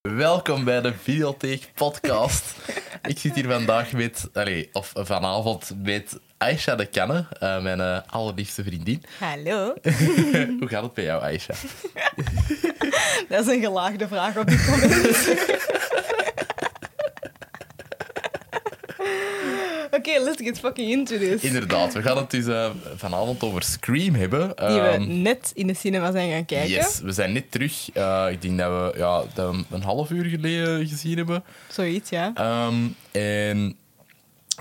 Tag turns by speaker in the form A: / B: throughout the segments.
A: welkom bij de Videotheek Podcast. Ik zit hier vandaag met, allee, of vanavond met Aisha de Kanne, eh, mijn eh, allerliefste vriendin.
B: Hallo.
A: Hoe gaat het bij jou, Aisha?
B: Dat is een gelaagde vraag op dit moment. Oké, let's get fucking into this.
A: Inderdaad, we gaan het dus eh, vanavond over Scream hebben.
B: Die we
A: Ehm,
B: net in de cinema zijn gaan kijken.
A: yes, we zijn net terug. Eh, ik denk dat we, ja, dat we hem een half uur geleden gezien hebben.
B: Zoiets, ja.
A: Ehm, en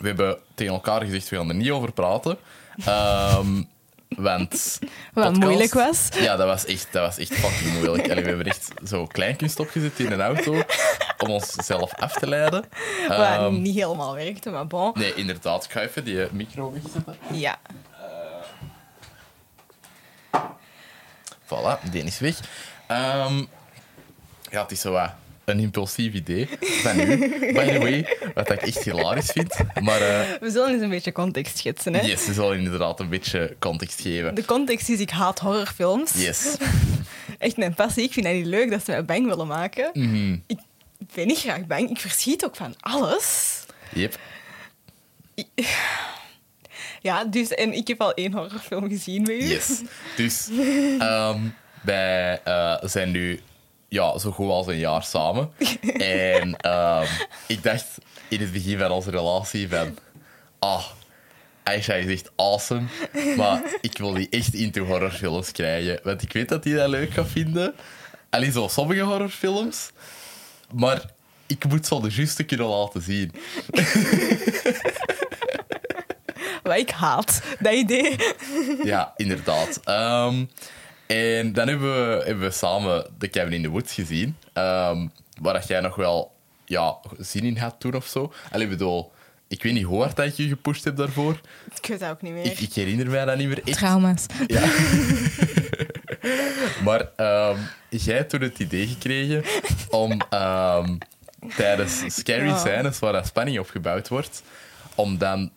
A: we hebben tegen elkaar gezegd, we gaan er niet over praten. Ehm, want...
B: Wat
A: podcast-
B: moeilijk was.
A: Ja, dat was echt, dat was echt fucking moeilijk. Allee, we hebben echt zo kleinkunst opgezet in een auto om onszelf af te leiden.
B: Wat
A: Ehm,
B: niet helemaal werkte, maar bon.
A: nee, inderdaad. Ik ga even die eh, micro wegzetten.
B: Ja.
A: Voilà, die is weg. Ehm, ja, het is zo wat een impulsief idee van u. By the way, wat ik echt hilarisch vind. Maar eh
B: We zullen eens een beetje context schetsen, hè.
A: yes, ze zal inderdaad een beetje context geven.
B: De context is, ik haat horrorfilms.
A: Yes.
B: Echt mijn passie. Ik vind dat niet leuk dat ze mij bang willen maken.
A: Mhm.
B: Ik ben niet graag bang. Ik verschiet ook van alles.
A: Yep.
B: Ja, dus, en ik heb al één horrorfilm gezien bij u.
A: Yes. Dus ehm, wij eh, zijn nu ja, zo goed als een jaar samen. En ehm, ik dacht in het begin van onze relatie van... Ah, Aisha is echt awesome. Maar ik wil die echt into horrorfilms krijgen. Want ik weet dat die dat leuk gaat vinden. Alleen zo sommige horrorfilms. Maar ik moet zo de juiste kunnen laten zien.
B: Wat ik haat, dat idee.
A: Ja, inderdaad. Ehm, en dan hebben we, hebben we samen The Cabin in the Woods gezien. ehm, waar dat jij nog wel ja, zin in had toen of zo. Allee, ik bedoel, ik weet niet hoe hard dat je je gepusht hebt daarvoor.
B: Ik weet dat ook niet meer.
A: Ik, ik herinner mij dat niet meer echt.
B: Trauma's.
A: Ja. maar ehm, jij hebt toen het idee gekregen om ehm, tijdens scary
B: Ja.
A: scènes waar dat spanning opgebouwd wordt, om dan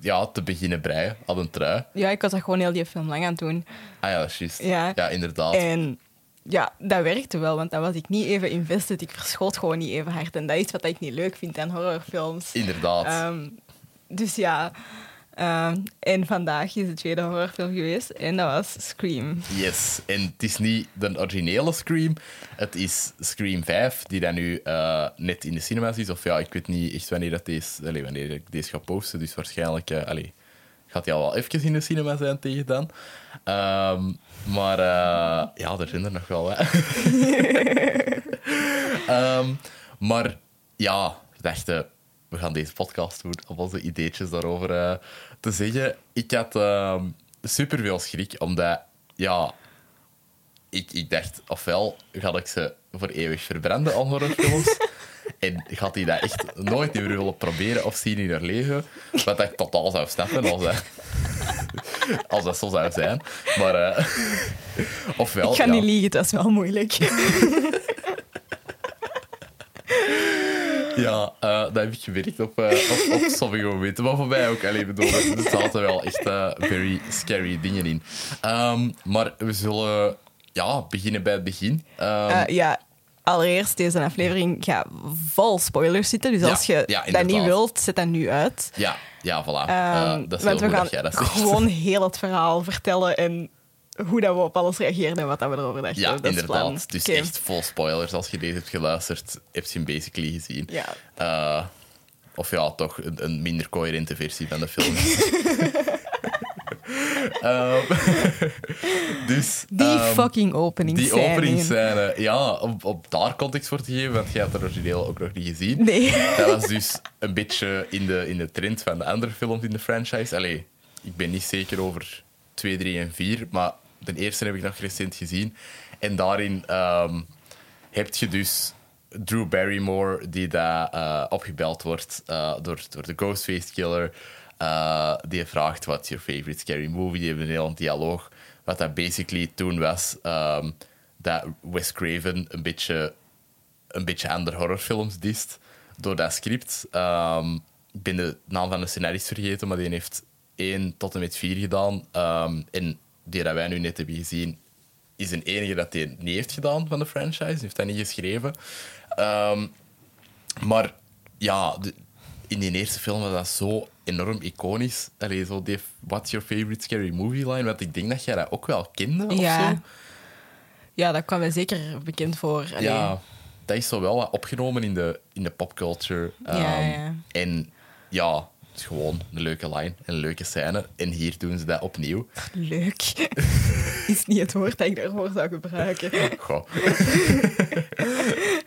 A: ja, te beginnen breien aan een trui.
B: Ja, ik was dat gewoon heel die film lang aan het doen.
A: Ah ja, dat is juist.
B: Ja.
A: Ja, inderdaad.
B: En ja, dat werkte wel, want dan was ik niet even invested. Ik verschoot gewoon niet even hard. En dat is wat ik niet leuk vind aan horrorfilms.
A: Inderdaad.
B: Ehm, dus ja. Ehm, en vandaag is de tweede horrorfilm geweest en dat was Scream.
A: yes. En het is niet de originele Scream. Het is Scream 5, die dan nu eh, net in de cinema's is. Of ja, ik weet niet echt wanneer, dat deze, allee, wanneer ik deze ga posten. Dus waarschijnlijk eh, allee, gaat die al wel even in de cinema zijn tegen dan. Ehm, maar eh, ja, er zijn er nog wel. Hè. Ehm, maar ja, we dachten, we gaan deze podcast doen om onze ideetjes daarover eh, te zeggen. Ik had ehm super veel schrik, omdat ja, ik, ik dacht, ofwel ga ik ze voor eeuwig verbranden aan horrorfilms. En gaat hij dat echt nooit meer willen proberen of zien in haar leven? Wat ik totaal zou snappen als dat, als dat zo zou zijn. Maar, eh, ofwel.
B: ik ga
A: Oh, ja.
B: niet liegen, dat is wel moeilijk.
A: Ja, eh, dat heb ik gemerkt op, eh, op, op sommige momenten. Maar voor mij ook. Allee, bedoel, er zaten wel echt eh, very scary dingen in. Ehm, maar we zullen ja, beginnen bij het begin. Ehm,
B: Eh, ja, allereerst, deze aflevering gaat vol spoilers zitten. Dus
A: Ja,
B: als je
A: ja,
B: dat
A: inderdaad.
B: niet wilt, zet dat nu uit.
A: ja, ja, voilà.
B: Ehm,
A: Eh, dat is heel
B: want we
A: goed
B: gaan
A: dat jij dat zegt.
B: gewoon heel het verhaal vertellen en hoe dat we op alles reageren en wat dat we erover dachten.
A: Ja,
B: dat is het plan.
A: inderdaad. Dus
B: Oké.
A: echt vol spoilers. Als je deze hebt geluisterd, heb je hem basically gezien.
B: Ja.
A: Eh, of ja, toch een, een minder coherente versie van de film. Ehm, dus,
B: Die
A: ehm,
B: fucking opening
A: Die openingsscène, ja, om, om daar context voor te geven, want jij hebt het origineel ook nog niet gezien.
B: Nee.
A: Dat was dus een beetje in de, in de trend van de andere films in de franchise. Allee, ik ben niet zeker over 2, 3 en 4, maar de eerste heb ik nog recent gezien. En daarin ehm, heb je dus Drew Barrymore, die daar eh, opgebeld wordt eh, door, door de Ghostface Killer. Eh, die vraagt, what's your favorite scary movie? Die hebben een heel dialoog. Wat dat basically toen was, ehm, dat Wes Craven een beetje een beetje andere horrorfilms dist door dat script. Ehm, ik ben de naam van de scenarist vergeten, maar die heeft één tot en met vier gedaan. Ehm, en die dat wij nu net hebben gezien, is een enige dat hij niet heeft gedaan van de franchise. Die heeft dat niet geschreven. Ehm, Ehm, maar ja, de- in die eerste film was dat zo enorm iconisch. Allee, zo die What's Your Favorite Scary Movie line? Want ik denk dat jij dat ook wel kende of
B: Ja.
A: zo.
B: Ja, dat kwam mij zeker bekend voor. Allee.
A: Ja, dat is zo wel wat opgenomen in de, in de popculture. Ehm,
B: Ja, ja.
A: En ja, het is gewoon een leuke line, een leuke scène. En hier doen ze dat opnieuw.
B: Leuk. is niet het woord dat ik daarvoor zou gebruiken.
A: Goh.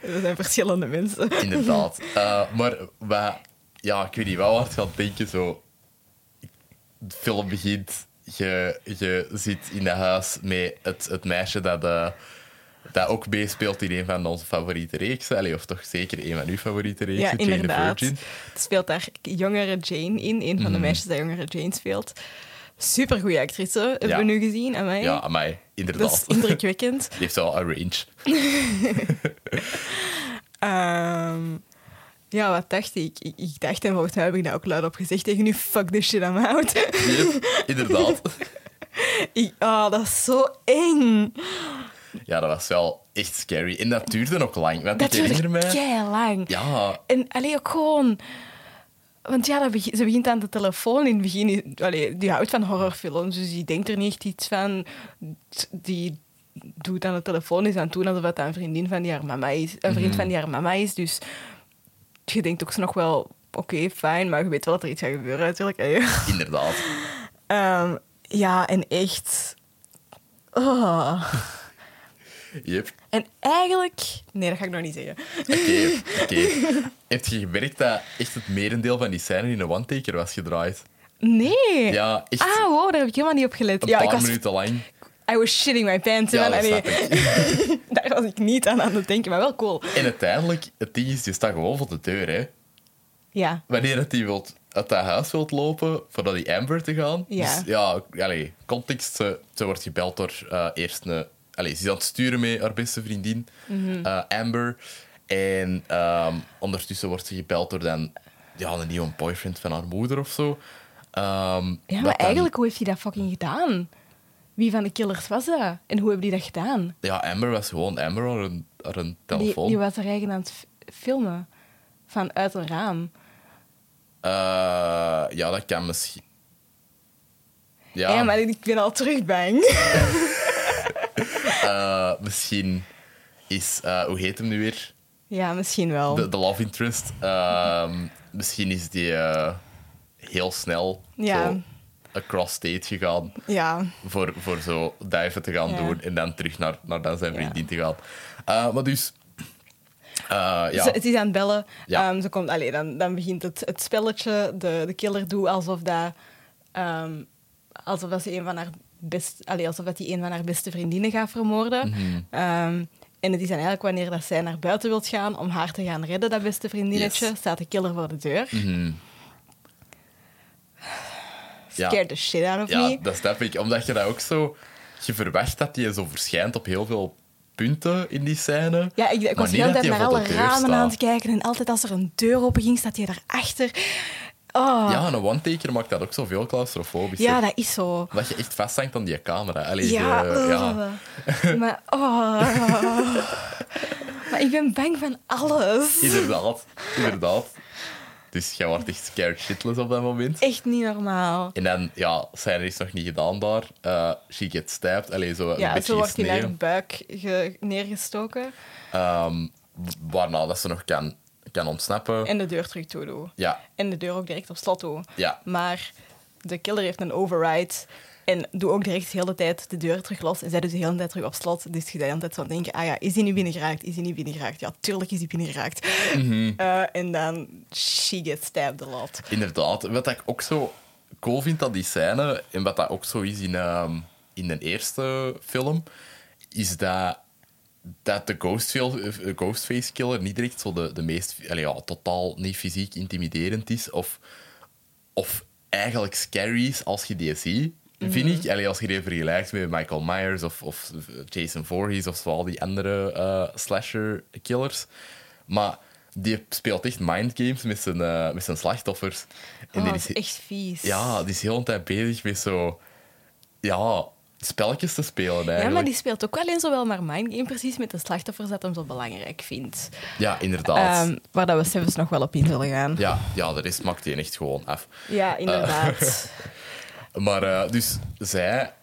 B: We zijn verschillende mensen.
A: Inderdaad. Eh, maar wat, ja, ik weet niet, wat wordt gaan denken zo. De film begint, je, je zit in dat huis met het, het meisje dat, eh, dat ook meespeelt in een van onze favoriete reeksen. Allee, of toch zeker een van uw favoriete reeksen,
B: Ja,
A: Jane the
B: inderdaad.
A: Virgin. Mhm.
B: Het speelt daar jongere Jane in. Een van de meisjes dat jongere Jane speelt. Supergoeie actrice, hebben
A: Ja.
B: we nu gezien aan mij.
A: Ja, maar
B: dat is
A: inderdaad.
B: indrukwekkend.
A: Die heeft wel een range.
B: Ehm, ja, wat dacht ik? ik? Ik dacht, en volgens mij heb ik dat ook luidop gezegd tegen u, fuck this shit, I'm out.
A: Yep, inderdaad.
B: ik, oh, dat is zo eng.
A: Ja, dat was wel echt scary. En dat duurde ook lang. Want
B: Dat
A: ik herinner
B: duurde
A: mij...
B: lang.
A: Ja,
B: En alleen ook gewoon... Want ja, dat begi- ze begint aan de telefoon in het begin. is- Allee, die houdt van horrorfilms, dus die denkt er niet echt iets van. T- Die doet aan de telefoon, is aan het doen alsof dat een vriendin van die haar mama is. Een vriend
A: Mhm.
B: van die haar mama is, dus... Je denkt ook zo nog wel, oké, fijn, maar je weet wel dat er iets gaat gebeuren natuurlijk. hè.
A: inderdaad.
B: Ehm, ja, en echt... Oh.
A: Yep.
B: En eigenlijk... Nee, dat ga ik nog niet zeggen.
A: Oké, oké. Heb je gemerkt dat echt het merendeel van die scène in een one-taker was gedraaid?
B: Nee.
A: Ja, echt
B: Ah, wow, daar heb ik helemaal niet op gelet.
A: een
B: ja, ik
A: paar
B: was,
A: minuten lang.
B: I was shitting my pants.
A: Ja,
B: man.
A: dat
B: Allee,
A: snap ik.
B: daar was ik niet aan aan het denken, maar wel cool.
A: En uiteindelijk, het ding is, je staat gewoon voor de deur, hè.
B: Ja,
A: Wanneer dat hij wilt, uit dat huis wilt lopen, voordat hij Amber te gaan.
B: Ja.
A: Dus ja, allee, context, ze, ze wordt gebeld door eh, eerst een... Allee, ze is aan het sturen met haar beste vriendin,
B: Mhm.
A: eh, Amber. En ehm, ondertussen wordt ze gebeld door dan, ja, een nieuwe boyfriend van haar moeder of zo. Ehm,
B: ja
A: dat
B: maar
A: dan-
B: eigenlijk, hoe heeft hij dat fucking gedaan? Wie van de killers was dat? En hoe hebben die dat gedaan?
A: Ja, Amber was gewoon Amber aan een, aan een
B: Die,
A: telefoon.
B: die was er eigenlijk aan het f- filmen. Vanuit een raam.
A: Eh, ja, dat kan misschien. Ja,
B: Ja, maar ik ben al terug bang.
A: eh, misschien is... eh, hoe heet hem nu weer?
B: Ja, misschien wel.
A: De, de love interest. ehm, misschien is die eh, heel snel
B: Ja.
A: zo across state gegaan
B: Ja.
A: voor, voor zo duiven te gaan
B: Ja.
A: doen en dan terug naar, naar dan zijn
B: Ja.
A: vriendin te gaan. Eh, maar dus... eh, ja.
B: Ze, het is aan het bellen.
A: Ja.
B: Ehm, ze komt, allee, dan, dan begint het, het spelletje. De, de killer doet alsof dat... ehm, alsof dat ze een van haar best, allee, alsof dat die een van haar beste vriendinnen gaat vermoorden.
A: Mhm.
B: Ehm, en het is dan eigenlijk wanneer dat zij naar buiten wilt gaan om haar te gaan redden, dat beste vriendinnetje,
A: Yes.
B: staat de killer voor de deur.
A: Mhm. Ja.
B: Scared the shit out of
A: Ja,
B: me.
A: dat snap ik. Omdat je dat ook zo... Je verwacht dat die zo verschijnt op heel veel punten in die scène.
B: Ja, ik, ik
A: Maar
B: was de
A: niet dat
B: hele tijd
A: die
B: naar
A: voor de
B: alle
A: deur
B: ramen
A: staat.
B: aan het kijken. En altijd als er een deur open ging, staat hij daarachter. Oh, ja,
A: Ja, en een one-taker maakt dat ook zo veel claustrofobischer.
B: dat is zo.
A: Dat je echt vasthangt aan die camera. Allee,
B: Ja,
A: de- ja.
B: eh, maar oh. Maar ik ben bang van alles.
A: Inderdaad, inderdaad. Dus jij wordt echt scared shitless op dat moment.
B: Echt niet normaal.
A: En dan, ja, scène is nog niet gedaan daar. Eh, she gets stabbed. Allee, zo een
B: Ja,
A: beetje
B: zo wordt hij naar de
A: gesneden.
B: buik ge- neergestoken
A: Ehm, waarna dat ze nog kan, kan ontsnappen.
B: en de deur terug toe doen.
A: Ja,
B: En de deur ook direct op slot doen.
A: ja.
B: Maar de killer heeft een override en doet ook direct de hele tijd de deur terug los. En zij doet de hele tijd terug op slot. Dus je bent de hele tijd zo aan het denken, ah ja, is hij nu binnengeraakt? Is hij nu binnengeraakt? Ja, tuurlijk is hij binnengeraakt.
A: Mhm.
B: Eh, en dan, she gets stabbed a lot.
A: Inderdaad. Wat ik ook zo cool vind aan die scène, en wat dat ook zo is in, ehm, in de eerste film, is dat, dat de ghostfil- eh, Ghostface Killer niet direct zo de, de meest allee, ja, totaal niet fysiek intimiderend is of, of eigenlijk scary is als je die ziet.
B: Mhm.
A: Vind ik, Allee, als je die vergelijkt met Michael Myers of, of Jason Voorhees of zo, al die andere eh, slasher killers. Maar die speelt echt mindgames met zijn, eh, met zijn slachtoffers. En
B: Oh,
A: die
B: dat is echt vies.
A: ja, die is heel de tijd bezig met zo. Ja, spelletjes te spelen. Eigenlijk.
B: Ja, maar die speelt ook wel in zowel maar Mind Game precies met de slachtoffers dat hem zo belangrijk vindt.
A: Ja, inderdaad.
B: Ehm, waar dat we zelfs nog wel op in zullen gaan. Ja,
A: Ja, Eh, ja, de rest maakt die echt gewoon af.
B: inderdaad.
A: Maar eh, dus zij,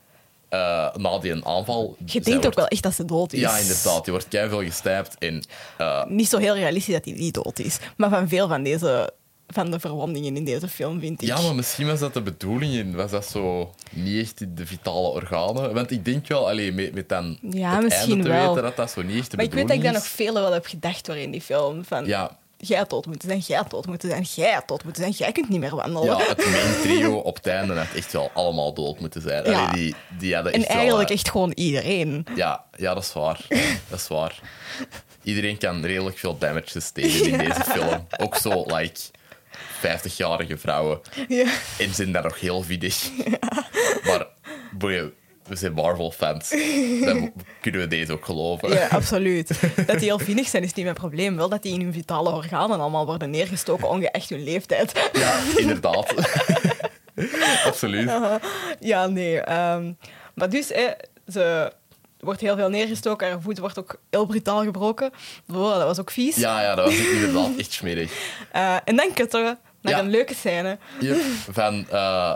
A: eh, na die aanval...
B: Je
A: zij
B: denkt ook
A: wordt-
B: wel echt dat ze dood is.
A: Ja, inderdaad. Die wordt keihard gestijpt en... eh,
B: Niet zo heel realistisch dat hij niet dood is. Maar van veel van, deze, van de verwondingen in deze film vind ik.
A: ja, maar misschien was dat de bedoeling en was dat zo niet echt in de vitale organen. Want ik denk wel, allee, met, met dan
B: Ja,
A: het
B: misschien
A: einde te
B: wel.
A: weten, dat dat zo niet echt de
B: Maar ik weet dat ik
A: bedoeling
B: daar nog vele wel heb gedacht door in die film. Van,
A: is. Ja,
B: Jij had dood moeten zijn, jij had dood moeten zijn, jij had dood moeten zijn, jij kunt niet meer wandelen.
A: ja, het main trio op het einde had echt wel allemaal dood moeten zijn.
B: Ja.
A: Allee, die, die hadden
B: en
A: echt wel,
B: eigenlijk
A: eh,
B: echt gewoon iedereen.
A: Ja, ja, dat is waar. Dat is waar. Iedereen kan redelijk veel damages tegen in deze film. Ook zo, like, 50-jarige vrouwen.
B: Ja.
A: En zijn daar nog heel vidig. Maar, boeien, we zijn Marvel-fans. Dan mo- kunnen we deze ook geloven.
B: Ja, absoluut. Dat die heel vinnig zijn is niet mijn probleem. Wel dat die in hun vitale organen allemaal worden neergestoken, ongeacht hun leeftijd.
A: Ja, inderdaad. Absoluut.
B: Ja, nee. ehm, maar dus, hè, ze wordt heel veel neergestoken, haar voet wordt ook heel brutaal gebroken. Wow, dat was ook vies.
A: Ja, ja, dat was inderdaad echt smerig.
B: Eh, en dan kutten we naar
A: Ja.
B: een leuke scène.
A: Hier, van, eh,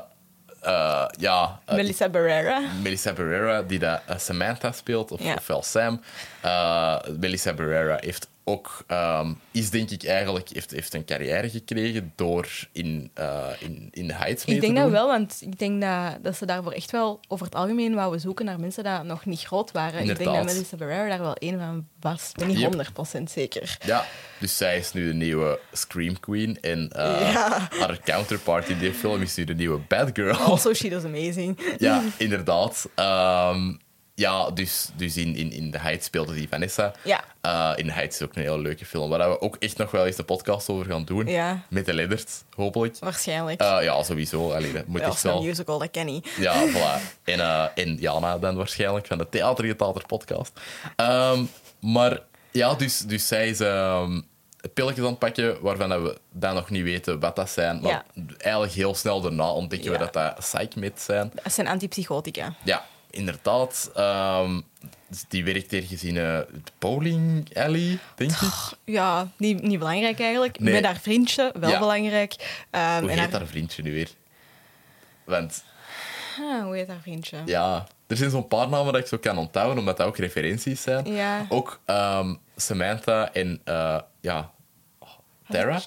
A: eh, ja... eh,
B: Melissa Barrera.
A: Melissa Barrera, die dat eh, Samantha speelt, of,
B: Ja.
A: ofwel Sam. Eh, Melissa Barrera heeft ook, ehm, is denk ik eigenlijk, heeft, heeft een carrière gekregen door in, eh, in, in de Heights mee
B: Ik
A: te
B: denk
A: doen.
B: dat wel, want ik denk dat, dat ze daarvoor echt wel over het algemeen wouden zoeken naar mensen die nog niet groot waren. Ik denk
A: Inderdaad.
B: dat Melissa Barrera daar wel één van was. Ik ben niet
A: Yep.
B: 100% zeker.
A: Ja, dus zij is nu de nieuwe Scream Queen en eh,
B: Ja. Oh,
A: haar counterpart in die film is nu de nieuwe Bad Girl.
B: Also, she does amazing.
A: Oh. Ja, inderdaad. Ehm, ja, dus, dus in, in, in The Heights speelde die Vanessa.
B: Ja.
A: Eh, in The Heights is ook een heel leuke film, waar we ook echt nog wel eens de podcast over gaan doen.
B: Ja.
A: Met de Leddert, hopelijk.
B: Waarschijnlijk.
A: Eh, ja, sowieso. Allee, dat moet
B: Ja,
A: echt
B: Als een
A: wel.
B: musical, dat ken niet.
A: Ja, voilà. En, eh, en Jana dan waarschijnlijk, van de Theater in Theater podcast. Ehm, maar ja, dus, dus zij is ehm, pilletjes aan het pakken, waarvan dat we dan nog niet weten wat dat zijn. Maar eigenlijk heel snel daarna ontdekken
B: Ja.
A: we dat dat psychmeds zijn.
B: Dat zijn antipsychotica.
A: Ja, inderdaad. Ehm, dus die werkt hier gezien eh, de bowling alley, denk ik.
B: Ja, niet, niet belangrijk eigenlijk.
A: Nee.
B: Met haar vriendje, wel
A: Ja.
B: belangrijk. Ehm,
A: Hoe
B: en
A: heet haar vriendje nu weer? Want
B: Ah, hoe heet haar vriendje?
A: Ja, er zijn zo'n paar namen dat ik zo kan onthouden, omdat dat ook referenties zijn.
B: Ja.
A: Ook ehm, Samantha en eh, ja, oh, Tara.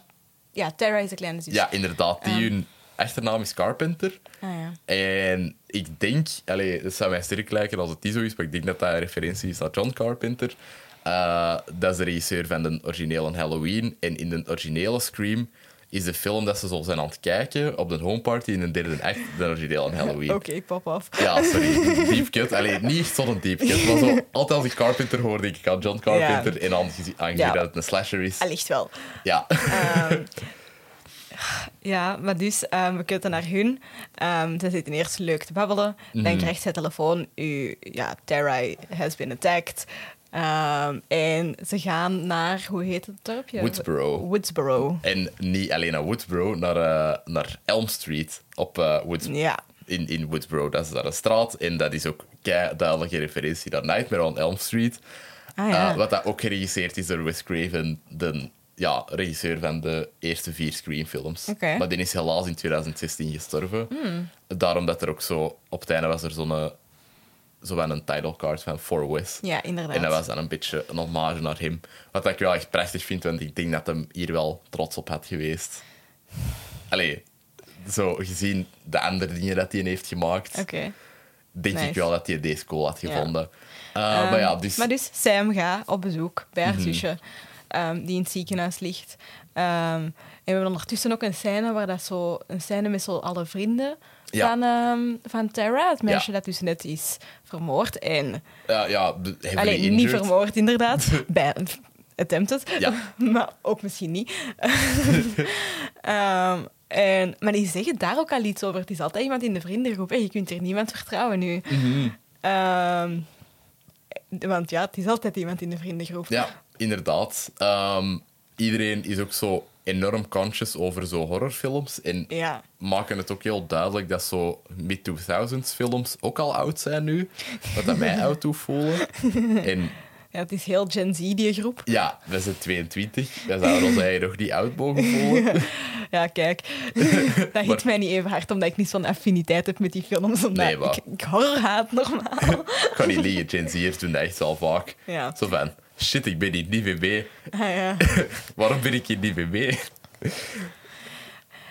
B: Ja, Tara is de kleine zus.
A: Ja, inderdaad. Die
B: Ehm.
A: hun achternaam is Carpenter.
B: Ah, ja.
A: En ik denk, allee, het zou mij sterk lijken als het die zo is, maar ik denk dat dat een referentie is naar John Carpenter. Eh, dat is de regisseur van de originele Halloween. En in de originele Scream is de film dat ze zo zijn aan het kijken op de homeparty in de derde act, de originele Halloween.
B: Oké, pop af.
A: Ja, sorry. Deep cut. Allee, niet echt zo'n deep cut. Maar zo, altijd als ik Carpenter hoor, denk ik aan John Carpenter.
B: Ja.
A: En aangezien aangezien
B: Ja.
A: dat het een slasher is.
B: Allicht wel.
A: Ja.
B: Ehm, ja, maar dus, ehm, we kutten naar hun. Ehm, ze zitten eerst leuk te babbelen.
A: Mhm.
B: Dan krijgt zij telefoon. U, ja, Tara has been attacked. Ehm, en ze gaan naar, hoe heet het dorpje?
A: Woodsboro.
B: Woodsboro.
A: En niet alleen naar Woodsboro, naar, eh, naar Elm Street op eh, Woods-
B: Ja.
A: In, in Woodsboro, dat is daar een straat. En dat is ook kei duidelijke referentie naar Nightmare on Elm Street.
B: Ah ja.
A: Eh, wat dat ook geregisseerd is door Wes Craven, de ja, regisseur van de eerste vier Scream-films.
B: Oké. Hmm.
A: Maar die is helaas in 2016 gestorven. Daarom dat er ook zo... Op het einde was er zo'n eh, zo van een title card van For Wes.
B: Ja, inderdaad.
A: En dat was dan een beetje een hommage naar hem. Wat ik wel echt prachtig vind, want ik denk dat hem hier wel trots op had geweest. Allee, zo gezien de andere dingen dat hij heeft gemaakt,
B: Oké.
A: denk ik
B: nice.
A: wel dat hij deze cool had gevonden. Eh,
B: Ehm,
A: maar ja, dus... Mhm.
B: maar dus Sam gaat op bezoek bij haar zusje, ehm, die in het ziekenhuis ligt. Ehm, en we hebben ondertussen ook een scène waar dat zo, een scène met zo alle vrienden
A: Ja.
B: van, ehm, van Tara, het meisje
A: Ja.
B: dat dus net is vermoord. En,
A: ja, eh, ja, b- heavily
B: alleen niet
A: injured.
B: vermoord, inderdaad. bij attempted,
A: Ja.
B: maar ook misschien niet. Ehm, en, maar die zeggen daar ook al iets over. Het is altijd iemand in de vriendengroep. Hey, je kunt hier niemand vertrouwen nu.
A: Mhm.
B: Ehm, want ja, het is altijd iemand in de vriendengroep.
A: Ja, inderdaad. Ehm, iedereen is ook zo enorm conscious over zo horrorfilms. En
B: Ja.
A: maken het ook heel duidelijk dat zo mid-2000s films ook al oud zijn nu. Wat dat mij oud doet voelen. En
B: ja, het is heel Gen Z, die groep.
A: ja, we zijn 22. Dan zouden we ons eigenlijk nog niet oud mogen voelen.
B: Ja, kijk. dat
A: Maar-
B: hit mij niet even hard, omdat ik niet zo'n affiniteit heb met die films. Omdat
A: Nee, maar-
B: ik, ik horror haat normaal.
A: Ik kan niet liegen, Gen Z'ers doen dat echt al vaak.
B: Ja.
A: Zo van, shit, ik ben hier niet mee mee.
B: Ah, ja.
A: Waarom ben ik hier niet mee mee?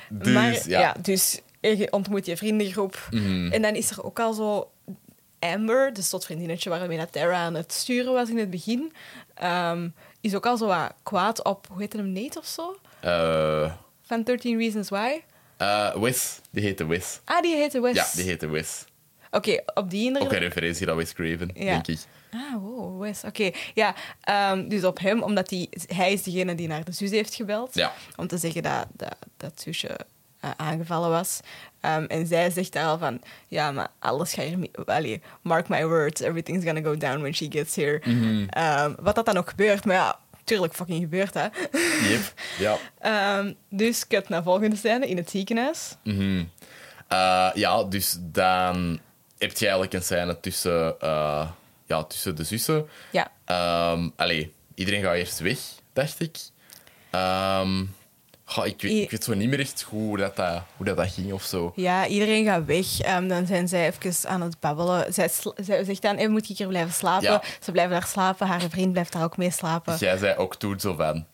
A: Dus
B: maar,
A: ja. Mhm.
B: dus je ontmoet je vriendengroep. En dan is er ook al zo Amber, dus dat vriendinnetje waarmee dat Tara aan het sturen was in het begin, ehm, is ook al zo wat kwaad op, hoe heette hem, Nate of zo?
A: Eh,
B: Van 13 Reasons Why.
A: eh, Wes, die heette Wes.
B: Ah, die heette Wes.
A: Ja, die heette Wes.
B: Oké, op die inderdaad.
A: Ook een referentie aan Wes Craven,
B: Ja.
A: denk ik.
B: Ah, wow, Wes. Oké, ja. ehm, dus op hem, omdat die, hij is degene die naar de zus heeft gebeld.
A: Ja.
B: Om te zeggen dat dat, dat zusje eh, aangevallen was. Ehm, en zij zegt daar al van... Ja, maar alles gaat hier... Allee, mark my words, everything's gonna go down when she gets here.
A: Mhm.
B: Ehm, wat dat dan ook gebeurt, maar ja... Tuurlijk fucking gebeurt dat.
A: Yep. Ja.
B: Ehm, dus kut naar volgende scène in het ziekenhuis.
A: Eh, ja, dus dan heb je eigenlijk een scène tussen, eh, ja, tussen de zussen.
B: Ja.
A: Ehm, allee, iedereen gaat eerst weg, dacht ik. Ehm, goh, ik, weet,
B: I-
A: ik weet zo niet meer echt goed hoe dat, dat, hoe dat, dat ging of zo.
B: Ja, iedereen gaat weg. Ehm, dan zijn zij even aan het babbelen. Zij, sl- zij zegt dan, "Eh, moet ik hier blijven slapen?
A: Ja.
B: Ze blijven daar slapen. Haar vriend blijft daar ook mee slapen. Ja.
A: Dus Jij zei ook toen zo van...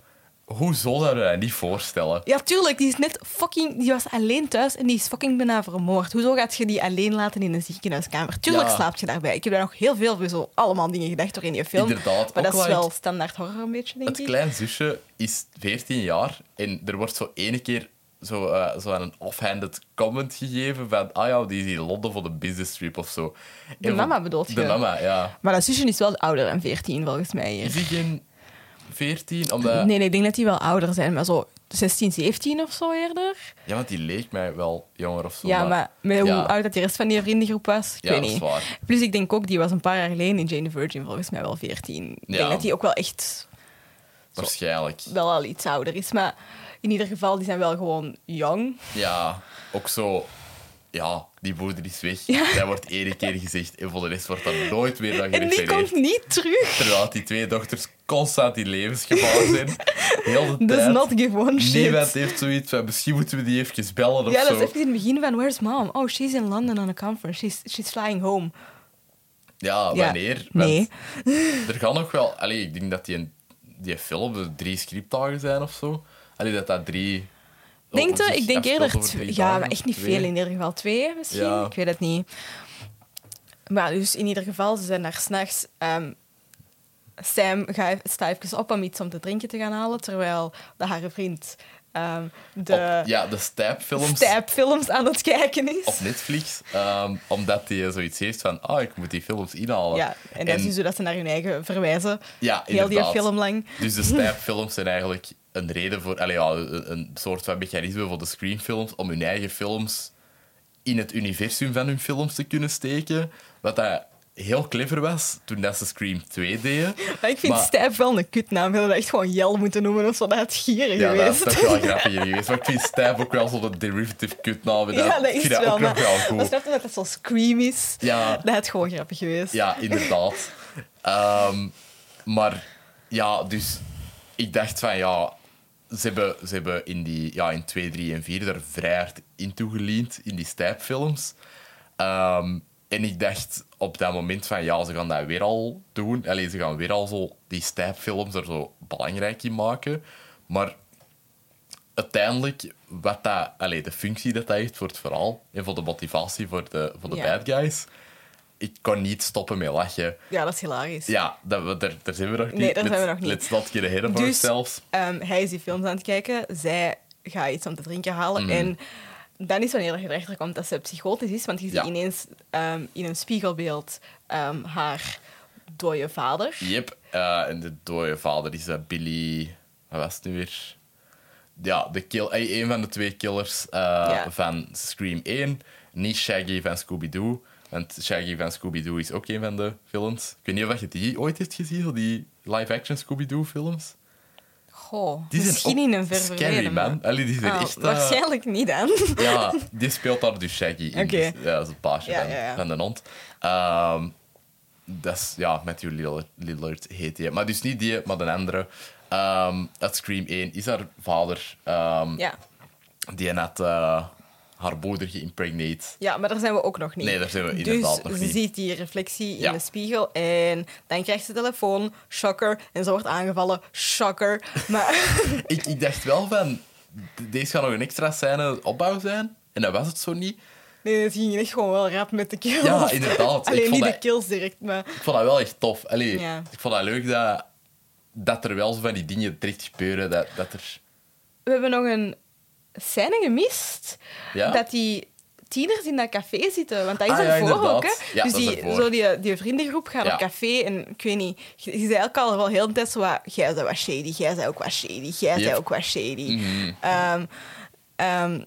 A: Hoezo zouden we dat niet voorstellen?
B: tuurlijk. Die, is net fucking, die was alleen thuis en die is fucking bijna vermoord. Hoezo gaat je die alleen laten in een ziekenhuiskamer? Tuurlijk
A: Ja.
B: slaapt je daarbij. Ik heb daar nog heel veel over zo allemaal dingen gedacht door in die film.
A: Inderdaad,
B: Maar dat
A: ook
B: is
A: wel
B: wel standaard horror een beetje, denk
A: Het
B: ik.
A: klein zusje is 14 jaar en er wordt zo ene keer zo, eh, zo aan een offhanded comment gegeven van ah ja, die is in Londen voor de business trip of zo. En van-
B: mama bedoelt
A: De
B: je?
A: mama, ja.
B: Maar dat zusje is wel ouder dan 14, volgens mij.
A: Is
B: Hier.
A: die geen 14? Omdat...
B: Nee, nee, ik denk dat die wel ouder zijn, maar zo 16, 17 of zo eerder.
A: Ja, want die leek mij wel jonger of zo.
B: Ja, maar met
A: Ja.
B: hoe oud dat de rest van die vriendengroep was, ik
A: Ja,
B: weet
A: dat is
B: niet.
A: waar.
B: Plus ik denk ook, die was een paar jaar geleden in Jane the Virgin volgens mij wel 14. Ik
A: Ja.
B: denk dat die ook wel echt
A: Waarschijnlijk.
B: wel al iets ouder is. Maar in ieder geval, die zijn wel gewoon jong.
A: Ja, ook zo... Ja, die moeder is weg. Dat wordt ene keer gezegd en voor de rest wordt dat nooit meer dan
B: En die
A: gerefereerd.
B: komt niet terug.
A: Terwijl die twee dochters constant in levensgevaar zijn. Heel de
B: Does
A: tijd.
B: not give one Oh, shit.
A: Niemand heeft zoiets van, misschien moeten we die even bellen of
B: ja, dat
A: zo.
B: is even in het begin van, where's mom? Oh, she's in London on a conference. She's, she's flying home.
A: Ja,
B: Ja.
A: wanneer? Want
B: Nee.
A: Er gaan nog wel... Allee, ik denk dat die, die film de drie scriptdagen zijn of zo. Allee, dat dat drie...
B: Denk
A: zich
B: je? Ik denk
A: afspeelt
B: eerder...
A: over
B: tw-
A: drie
B: Ja,
A: dagen
B: maar
A: of
B: echt niet
A: twee.
B: veel. In ieder geval twee, misschien.
A: Ja.
B: Ik weet het niet. Maar dus in ieder geval, ze zijn daar s'nachts... ehm Sam gaat, staat even op om iets om te drinken te gaan halen, terwijl de, haar vriend ehm, de
A: Op- ja, de stijpfilms
B: stijpfilms aan het kijken is.
A: op Netflix. ehm, omdat hij zoiets heeft van, ah, ik moet die films inhalen.
B: Ja, en dat is dus dat ze naar hun eigen verwijzen.
A: Ja,
B: Heel die
A: inderdaad.
B: film lang.
A: Dus de stijpfilms zijn eigenlijk een reden voor, allee, ja, een, een soort van mechanisme voor de screenfilms om hun eigen films in het universum van hun films te kunnen steken. Wat dat heel clever was toen dat ze Scream 2 deden.
B: Maar ik vind
A: Maar-
B: stijp wel een kutnaam. We hadden dat echt gewoon Jel moeten noemen of zo. Dat had gieren
A: Ja, dat is
B: geweest.
A: toch wel grappig geweest. Maar ik vind stijp ook wel zo'n derivative kutnaam. en
B: Ja, dat
A: ik
B: is
A: vind dat
B: wel.
A: ook nog
B: Maar,
A: wel
B: maar
A: goed.
B: snap je dat dat zo scream is?
A: Ja.
B: Dat had gewoon grappig geweest.
A: Ja, inderdaad. Ehm, maar ja, dus ik dacht van ja, ze hebben, ze hebben in, die, ja, in 2, 3 en 4 er vrij hard in toegeleend in die stijpfilms. Ehm, en ik dacht op dat moment van ja, ze gaan dat weer al doen. Allee, ze gaan weer al zo die stijpfilms er zo belangrijk in maken. Maar uiteindelijk, wat dat, allee, de functie dat dat heeft voor het verhaal en voor de motivatie voor de, voor de
B: Ja.
A: bad guys, ik kon niet stoppen met lachen.
B: Ja, dat is hilarisch.
A: Ja, dat, we- daar, daar zijn we nog niet.
B: Nee, daar zijn
A: Let's-
B: we nog niet.
A: Let's not get ahead of
B: Dus-
A: ourselves.
B: Ehm, hij is die films aan het kijken. Zij gaat iets om te drinken halen.
A: Mhm.
B: En dan is wanneer je erachter komt dat ze psychotisch is. Want je
A: Ja.
B: ziet ineens ehm, in een spiegelbeeld ehm, haar dode vader.
A: Yep. eh, en de dode vader is dat Billy... Wat was het nu weer? Ja, de kill, eh, een van de twee killers eh,
B: Ja.
A: van Scream 1. Niet Shaggy van Scooby-Doo. Want Shaggy van Scooby-Doo is ook een van de films. Ik weet niet of je die ooit hebt gezien, zo die live-action Scooby-Doo films.
B: Goh,
A: Die zijn
B: misschien
A: ook
B: in een ver
A: Scary,
B: verleden,
A: man.
B: maar-
A: Allee, die zijn
B: Ah,
A: echt... eh,
B: waarschijnlijk niet dan.
A: Ja, die speelt daar dus Shaggy in.
B: Oké.
A: Dus, ja, dat is het paasje
B: Ja,
A: van,
B: ja, ja.
A: van de hond. Ehm, dat is, ja, Matthew Lillard, Lillard heet die. Maar dus niet die, maar de andere. Ehm uit Scream 1 is haar vader. ehm,
B: Ja.
A: Die had eh, haar moeder geïmpregneerd.
B: ja, maar daar zijn we ook nog niet.
A: Nee, daar zijn we
B: Dus
A: inderdaad nog
B: ze
A: niet.
B: ziet die reflectie in
A: Ja.
B: de spiegel en dan krijgt ze telefoon, shocker, en ze wordt aangevallen, shocker. Maar
A: Ik, ik dacht wel van, d- deze gaat nog een extra scène opbouw zijn. En dat was het zo niet.
B: nee, het ging echt gewoon wel rap met de kills.
A: Ja, inderdaad. Ik
B: Alleen
A: vond
B: niet
A: dat-
B: de kills direct, maar
A: Ik vond dat wel echt tof. Allee,
B: Ja.
A: Ik vond dat leuk dat, dat er wel zo van die dingen terecht gebeuren. Dat, dat er...
B: we hebben nog een scène gemist.
A: Ja?
B: Dat die tieners in dat café zitten, want dat is
A: Ah, ja,
B: ervoor ook. Hè?
A: inderdaad. Ja,
B: dus
A: dat is
B: die,
A: ervoor.
B: zo die, die vriendengroep gaat
A: Ja.
B: op café en ik weet niet, je, je zei ook al wel heel de tijd zo wat, jij zei wat shady, jij zei ook wat shady, jij zei
A: Yep.
B: ook wat shady.
A: Mhm.
B: Ehm, ehm,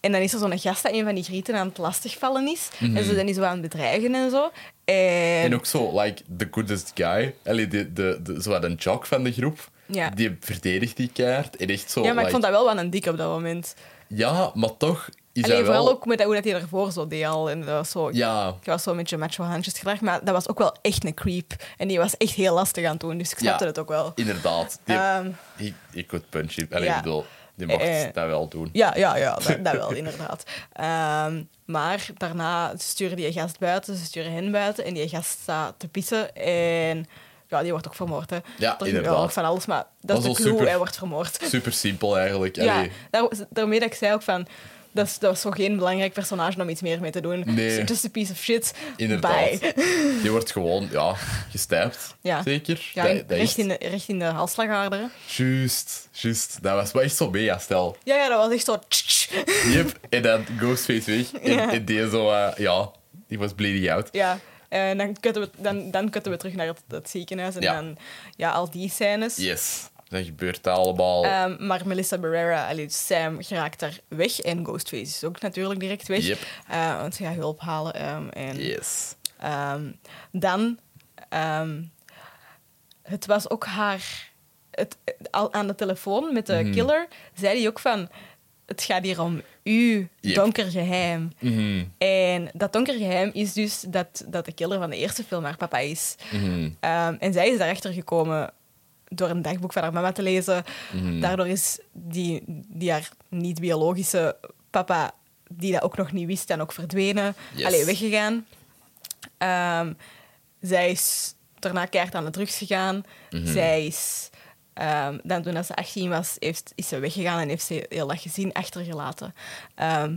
B: en dan is er zo'n gast dat een van die grieten aan het lastigvallen is.
A: Mhm.
B: En ze zijn die zo aan het bedreigen en zo. En,
A: En ook zo, like, the goodest guy. Allee, de, de, de, zo wat een jock van de groep.
B: Ja.
A: Die verdedigt die kaart. En echt zo,
B: ja, maar
A: like,
B: ik vond dat wel wel een dik op dat moment.
A: ja, maar toch is
B: Alleen
A: dat wel...
B: vooral ook met dat- hoe dat hij ervoor zo deed al. En dat was zo,
A: Ja,
B: Ik was zo met je macho handjes gedrag, maar dat was ook wel echt een creep. En die was echt heel lastig aan het doen, dus ik snapte
A: Ja.
B: het ook wel.
A: inderdaad. Die,
B: Ehm.
A: he, he could punch him. Allee,
B: Ja.
A: ik bedoel, die mocht
B: Eh, eh.
A: dat wel doen.
B: Ja, ja, ja, dat, dat wel, inderdaad. Ehm, maar daarna ze sturen die gast buiten, ze sturen hen buiten en die gast staat te pissen en ja, die wordt ook vermoord. Hè.
A: Ja,
B: er
A: inderdaad.
B: nog van alles, maar dat is
A: Was
B: de
A: al
B: clue,
A: super.
B: hij wordt vermoord.
A: Super simpel eigenlijk.
B: Ja,
A: Allee,
B: daar, daarmee dat ik zei ook van, dat is, dat was zo geen belangrijk personage om iets meer mee te doen.
A: Nee.
B: Just a piece of shit.
A: inderdaad.
B: Bye.
A: Die wordt gewoon, ja, gestijpt.
B: Ja.
A: Zeker.
B: Ja,
A: dat, dat
B: recht,
A: is...
B: in de, recht in de halsslagader. hè.
A: Juist, juist. Dat was wel echt zo mega stel.
B: Ja, ja, dat was echt zo. tsch, tsch.
A: Yep. en dan Ghostface weg. En,
B: Ja.
A: en die zo, eh, ja, die was bleeding out.
B: Ja, en dan kutten we, dan, dan kutten we terug naar het, het ziekenhuis en
A: Ja.
B: dan ja, al die scènes.
A: Yes. Dan gebeurt dat allemaal.
B: Ehm, maar Melissa Barrera, allee, dus Sam, geraakt daar weg. En Ghostface is ook natuurlijk direct weg.
A: Yep.
B: Eh, want ze gaat hulp halen. ehm, en,
A: yes.
B: ehm, dan, ehm, het was ook haar... Het, het- al aan de telefoon met
A: Mhm.
B: de killer zei hij ook van... Het gaat hier om u,
A: Yep.
B: donker geheim.
A: Mhm.
B: En dat donker geheim is dus dat, dat de killer van de eerste film haar papa is.
A: Mhm.
B: Ehm, en zij is daarachter gekomen door een dagboek van haar mama te lezen.
A: Mhm.
B: Daardoor is die, die haar niet-biologische papa, die dat ook nog niet wist, dan ook verdwenen.
A: Yes.
B: Allee, weggegaan. Ehm, zij is daarna keihard aan de drugs gegaan.
A: Mhm.
B: Zij is... ehm, dan toen dat ze 18 was, heeft, is ze weggegaan en heeft ze heel dat gezin achtergelaten. Ehm,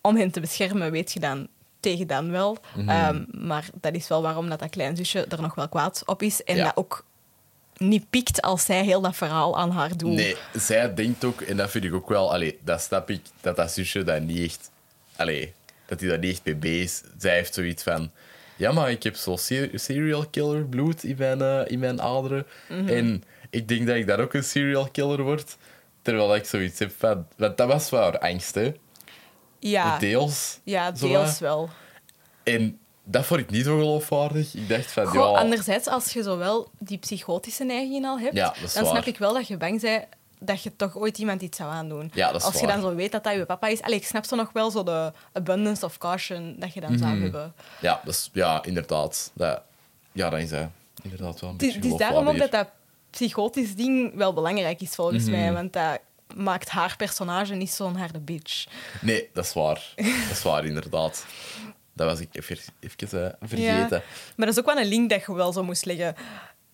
B: om hen te beschermen, weet je dan tegen dan wel.
A: Mhm.
B: Ehm, maar dat is wel waarom dat, dat kleinzusje er nog wel kwaad op is. En
A: Ja.
B: dat ook niet pikt als zij heel dat verhaal aan haar doet.
A: Nee, zij denkt ook, en dat vind ik ook wel, allee, dat snap ik, dat dat zusje dat niet echt, allee, dat hij daar niet echt mee bezig is. Zij heeft zoiets van, ja, maar ik heb zo'n ser- serial killer bloed in mijn, eh, in mijn aderen.
B: Mhm.
A: En ik denk dat ik daar ook een serial killer word. Terwijl ik zoiets heb van, want dat was wel haar angst, hè?
B: Ja,
A: Deels.
B: Ah. ja
A: zowaar.
B: deels wel.
A: En dat vond ik niet zo geloofwaardig. Ik dacht van,
B: Goh,
A: ja...
B: Anderzijds, als je zowel die psychotische neigingen al hebt,
A: Ja, dat is
B: dan
A: waar.
B: snap ik wel dat je bang bent dat je toch ooit iemand iets zou aandoen.
A: Ja, dat is
B: als je
A: waar.
B: dan zo weet dat dat je papa is. Allee, ik snap zo nog wel zo de abundance of caution dat je dan
A: Mhm.
B: zou hebben.
A: Ja, dus, ja inderdaad. Dat, ja, dan is dat inderdaad wel een
B: Het is,
A: beetje
B: het is daarom ook dat
A: geloofwaardiger.
B: dat psychotisch ding wel belangrijk is, volgens
A: Mhm.
B: mij. Want dat maakt haar personage niet zo'n harde bitch.
A: Nee, dat is waar. Dat is waar, inderdaad. Dat was ik even, even eh, vergeten.
B: Maar dat is ook wel een link dat je wel zo moest leggen.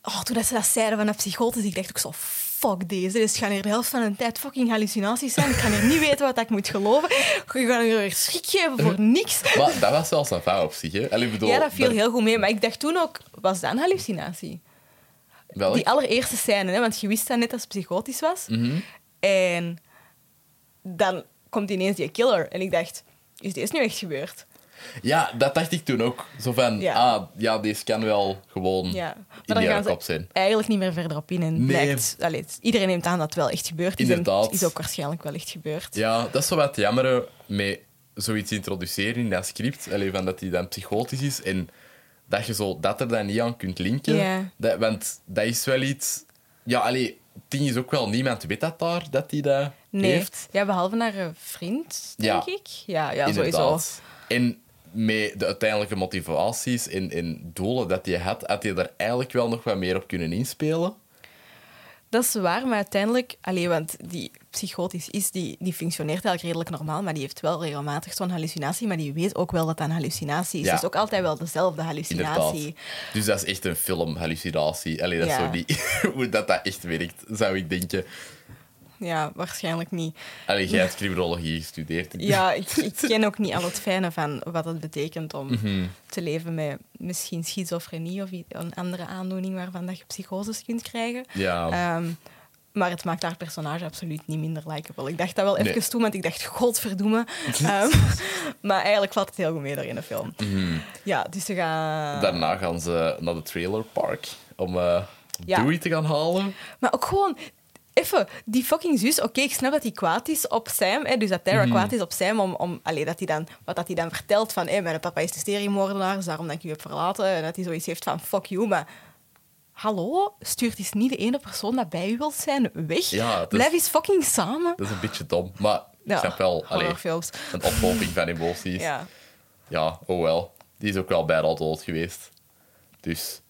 B: Oh, toen dat ze dat zeiden van een psychotisch, ik dacht ook zo... Fuck deze, dus gaan hier de helft van de tijd fucking hallucinaties zijn. Ik ga hier niet weten wat ik moet geloven. Je gaat hier weer schrik geven voor niks.
A: Maar dat was zelfs een fout op zich, hè? Allee, ik bedoel,
B: Ja, dat viel
A: daar-
B: heel goed mee. Maar ik dacht toen ook, was dat een hallucinatie?
A: Wel,
B: Die allereerste scène, hè, want je wist dat net dat ze psychotisch was.
A: Mhm.
B: En dan komt ineens die killer. En ik dacht, is dit nu echt gebeurd?
A: Ja, dat dacht ik toen ook. Zo van,
B: Ja.
A: ah, ja, deze kan wel gewoon
B: Ja.
A: in
B: Maar daar
A: die
B: gaan ze
A: kop zijn.
B: eigenlijk niet meer verder op in. En
A: Nee.
B: blijkt, allee, het- iedereen neemt aan dat het wel echt gebeurd is. en
A: Inderdaad.
B: het is ook waarschijnlijk wel echt gebeurd.
A: Ja, dat is zo wat jammer eh, met zoiets introduceren in dat script. Alleen van dat hij dan psychotisch is en dat je zo dat er dan niet aan kunt linken.
B: Ja.
A: Dat, want dat is wel iets. Ja, allee, ding is ook wel, niemand weet dat daar, dat hij dat
B: Nee.
A: heeft.
B: Ja, behalve naar een vriend, denk
A: Ja.
B: ik. Ja, ja sowieso.
A: Inderdaad. En met de uiteindelijke motivaties en, en doelen dat hij had, had hij er eigenlijk wel nog wat meer op kunnen inspelen.
B: Dat is waar, maar uiteindelijk... Allee, want die psychotisch is, die, die functioneert eigenlijk redelijk normaal, maar die heeft wel regelmatig zo'n hallucinatie, maar die weet ook wel dat dat een hallucinatie is.
A: Ja.
B: Dus ook altijd wel dezelfde hallucinatie.
A: Inderdaad. Dus dat is echt een filmhallucinatie. Allee, dat is
B: Ja.
A: zo niet hoe dat, dat echt werkt, zou ik denken.
B: Ja, waarschijnlijk niet.
A: Allee, jij hebt criminologie gestudeerd.
B: Ja, ik, ik ken ook niet al het fijne van wat het betekent om
A: Mhm.
B: te leven met misschien schizofrenie of i- een andere aandoening waarvan dat je psychoses kunt krijgen.
A: Ja.
B: Ehm, maar het maakt haar personage absoluut niet minder likable. Ik dacht dat wel
A: Nee.
B: even toe, want ik dacht, godverdomme. Ehm, maar eigenlijk valt het heel goed mee daar in de film.
A: Mhm.
B: Ja, dus ze gaan...
A: Daarna gaan ze naar de trailerpark om eh
B: Ja.
A: Dewey te gaan halen.
B: Maar ook gewoon, even, die fucking zus. Oké, ik snap dat hij kwaad is op Sam. Hè, dus dat
A: Mhm.
B: Tara kwaad is op Sam. Om, om, allee, dat hij dan, wat dat hij dan vertelt van: hé, mijn papa is de seriemoordenaar, dus daarom dat ik u heb verlaten. En dat hij zoiets heeft van: fuck you, maar. Hallo, stuurt eens niet de ene persoon dat bij u wilt zijn weg.
A: Ja, dat is-
B: Blijf eens fucking samen.
A: Dat is een beetje dom, maar
B: Ja,
A: ik snap wel. Allee,
B: horrorfilms.
A: een ophoping van emoties.
B: Ja.
A: Ja, oh wel. Die is ook wel bijna al dood geweest. Dus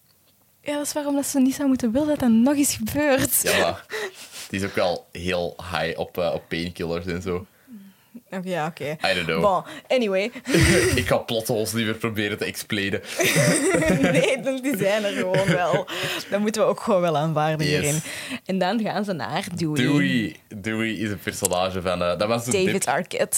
B: ja, dat is waarom dat ze niet zou moeten willen dat dat nog eens gebeurt.
A: ja, maar die is ook wel heel high op, eh, op painkillers en zo.
B: Oké, ja, oké.
A: I don't know.
B: Bon, anyway.
A: ik ga plotholes liever proberen te explainen.
B: nee, dat- die zijn er gewoon wel. Dat moeten we ook gewoon wel aanvaarden
A: Yes.
B: hierin. En dan gaan ze naar Dewey.
A: Dewey, Dewey is een personage van... eh, dat was een
B: David
A: dip-
B: Arquette.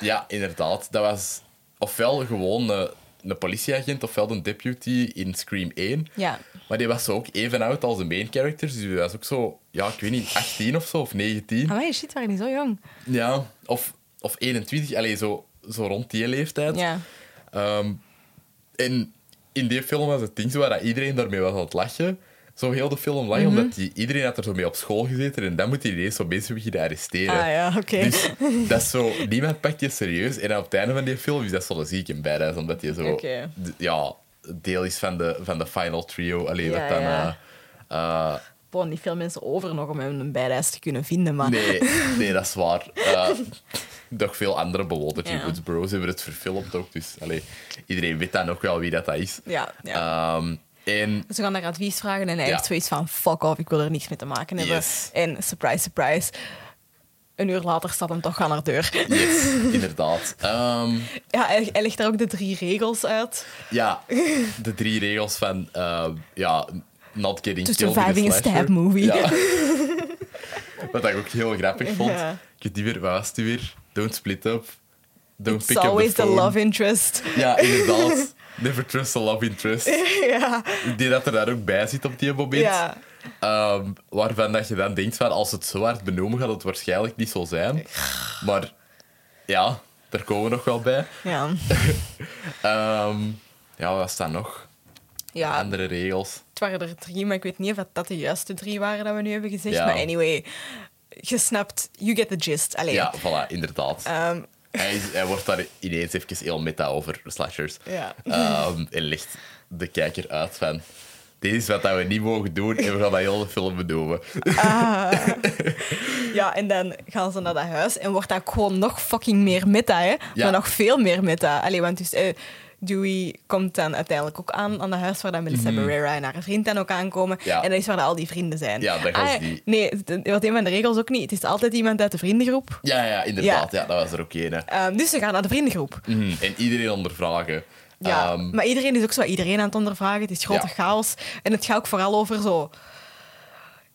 A: Ja, inderdaad. Dat was ofwel gewoon eh, een politieagent, ofwel een deputy in Scream 1.
B: Ja.
A: Maar die was zo ook even oud als de main characters. Dus die was ook zo, ja, ik weet niet, 18 of zo, of 19.
B: Maar je shit, waren niet zo jong.
A: Ja, of, of 21. Allee, zo, zo rond die leeftijd.
B: Ja.
A: Ehm, en in die film was het ding zo dat iedereen daarmee was aan het lachen. Zo heel de film lang,
B: Mhm.
A: omdat die, iedereen had er zo mee op school gezeten. En dan moet hij ineens zo mensen beginnen arresteren.
B: Ah ja, oké.
A: Dus dat is zo, niemand pakt je serieus. En op het einde van die film is dat zo'n ziek en badass, omdat je zo
B: Oké.
A: d- ja, deel is van de, van de final trio. Allee,
B: Ja,
A: dat dan...
B: ja.
A: eh, eh,
B: Bon, niet veel mensen over nog om hem een bijlijst te kunnen vinden, maar...
A: nee, nee, dat is waar. Eh nog veel andere bewondertje
B: Ja.
A: Woods Bros hebben het verfilmd ook. Dus allee, iedereen weet dan ook wel wie dat, dat is.
B: Ja, ja.
A: Ehm, en
B: ze gaan naar advies vragen en hij
A: Ja.
B: heeft zoiets van... Fuck off, ik wil er niks mee te maken hebben.
A: Yes.
B: En surprise, surprise... Een uur later staat hem toch aan haar deur.
A: yes, inderdaad. Ehm,
B: Ja, hij, hij legt daar ook de drie regels uit.
A: ja, de drie regels van ehm, ja, not getting
B: Just
A: killed in
B: surviving a
A: slasher.
B: stab movie.
A: Ja. Wat ik ook heel grappig vond.
B: Ja.
A: Ik weet niet meer, waar was die weer? Don't split up. Don't
B: It's
A: pick up the
B: always the
A: phone.
B: love interest.
A: Ja, inderdaad. Never trust a love interest.
B: ja.
A: Ik denk dat er daar ook bij zit op die moment.
B: Ja.
A: Ehm, waarvan dat je dan denkt van als het zo hard benoemen gaat het waarschijnlijk niet zo zijn. Maar ja, daar komen we nog wel bij.
B: Ja.
A: Ehm, ja, wat staan nog?
B: ja.
A: Andere regels.
B: Het waren er drie, maar ik weet niet of dat- dat de juiste drie waren dat we nu hebben gezegd.
A: Ja.
B: Maar anyway, je snapt, you get the gist. Allee.
A: Ja, voilà, inderdaad.
B: Ehm,
A: Hij, is- hij wordt daar ineens even heel meta over, slashers.
B: ja.
A: Ehm, en legt de kijker uit van... Dit is wat dat we niet mogen doen en we gaan dat heel de film benoemen.
B: ja, en dan gaan ze naar dat huis en wordt dat gewoon nog fucking meer meta, hè?
A: Ja.
B: Maar nog veel meer meta. Allee, want dus, eh, Dewey komt dan uiteindelijk ook aan aan dat huis waar dan Melissa Barrera en haar vriend dan ook aankomen.
A: Mhm. Ja.
B: En dat is waar dat al die vrienden zijn. Ah,
A: Ja, dat gaan ze die-
B: Nee, de- wat een van de regels ook niet. Het is altijd iemand uit de vriendengroep.
A: Ja, ja, inderdaad. Ja. dat was er ook een. hè.
B: Ehm, dus ze gaan naar de vriendengroep.
A: Mhm, En iedereen ondervragen.
B: Ja,
A: Ehm,
B: maar iedereen is ook zo iedereen aan het ondervragen. Het is grote
A: Ja.
B: chaos. En het gaat ook vooral over zo...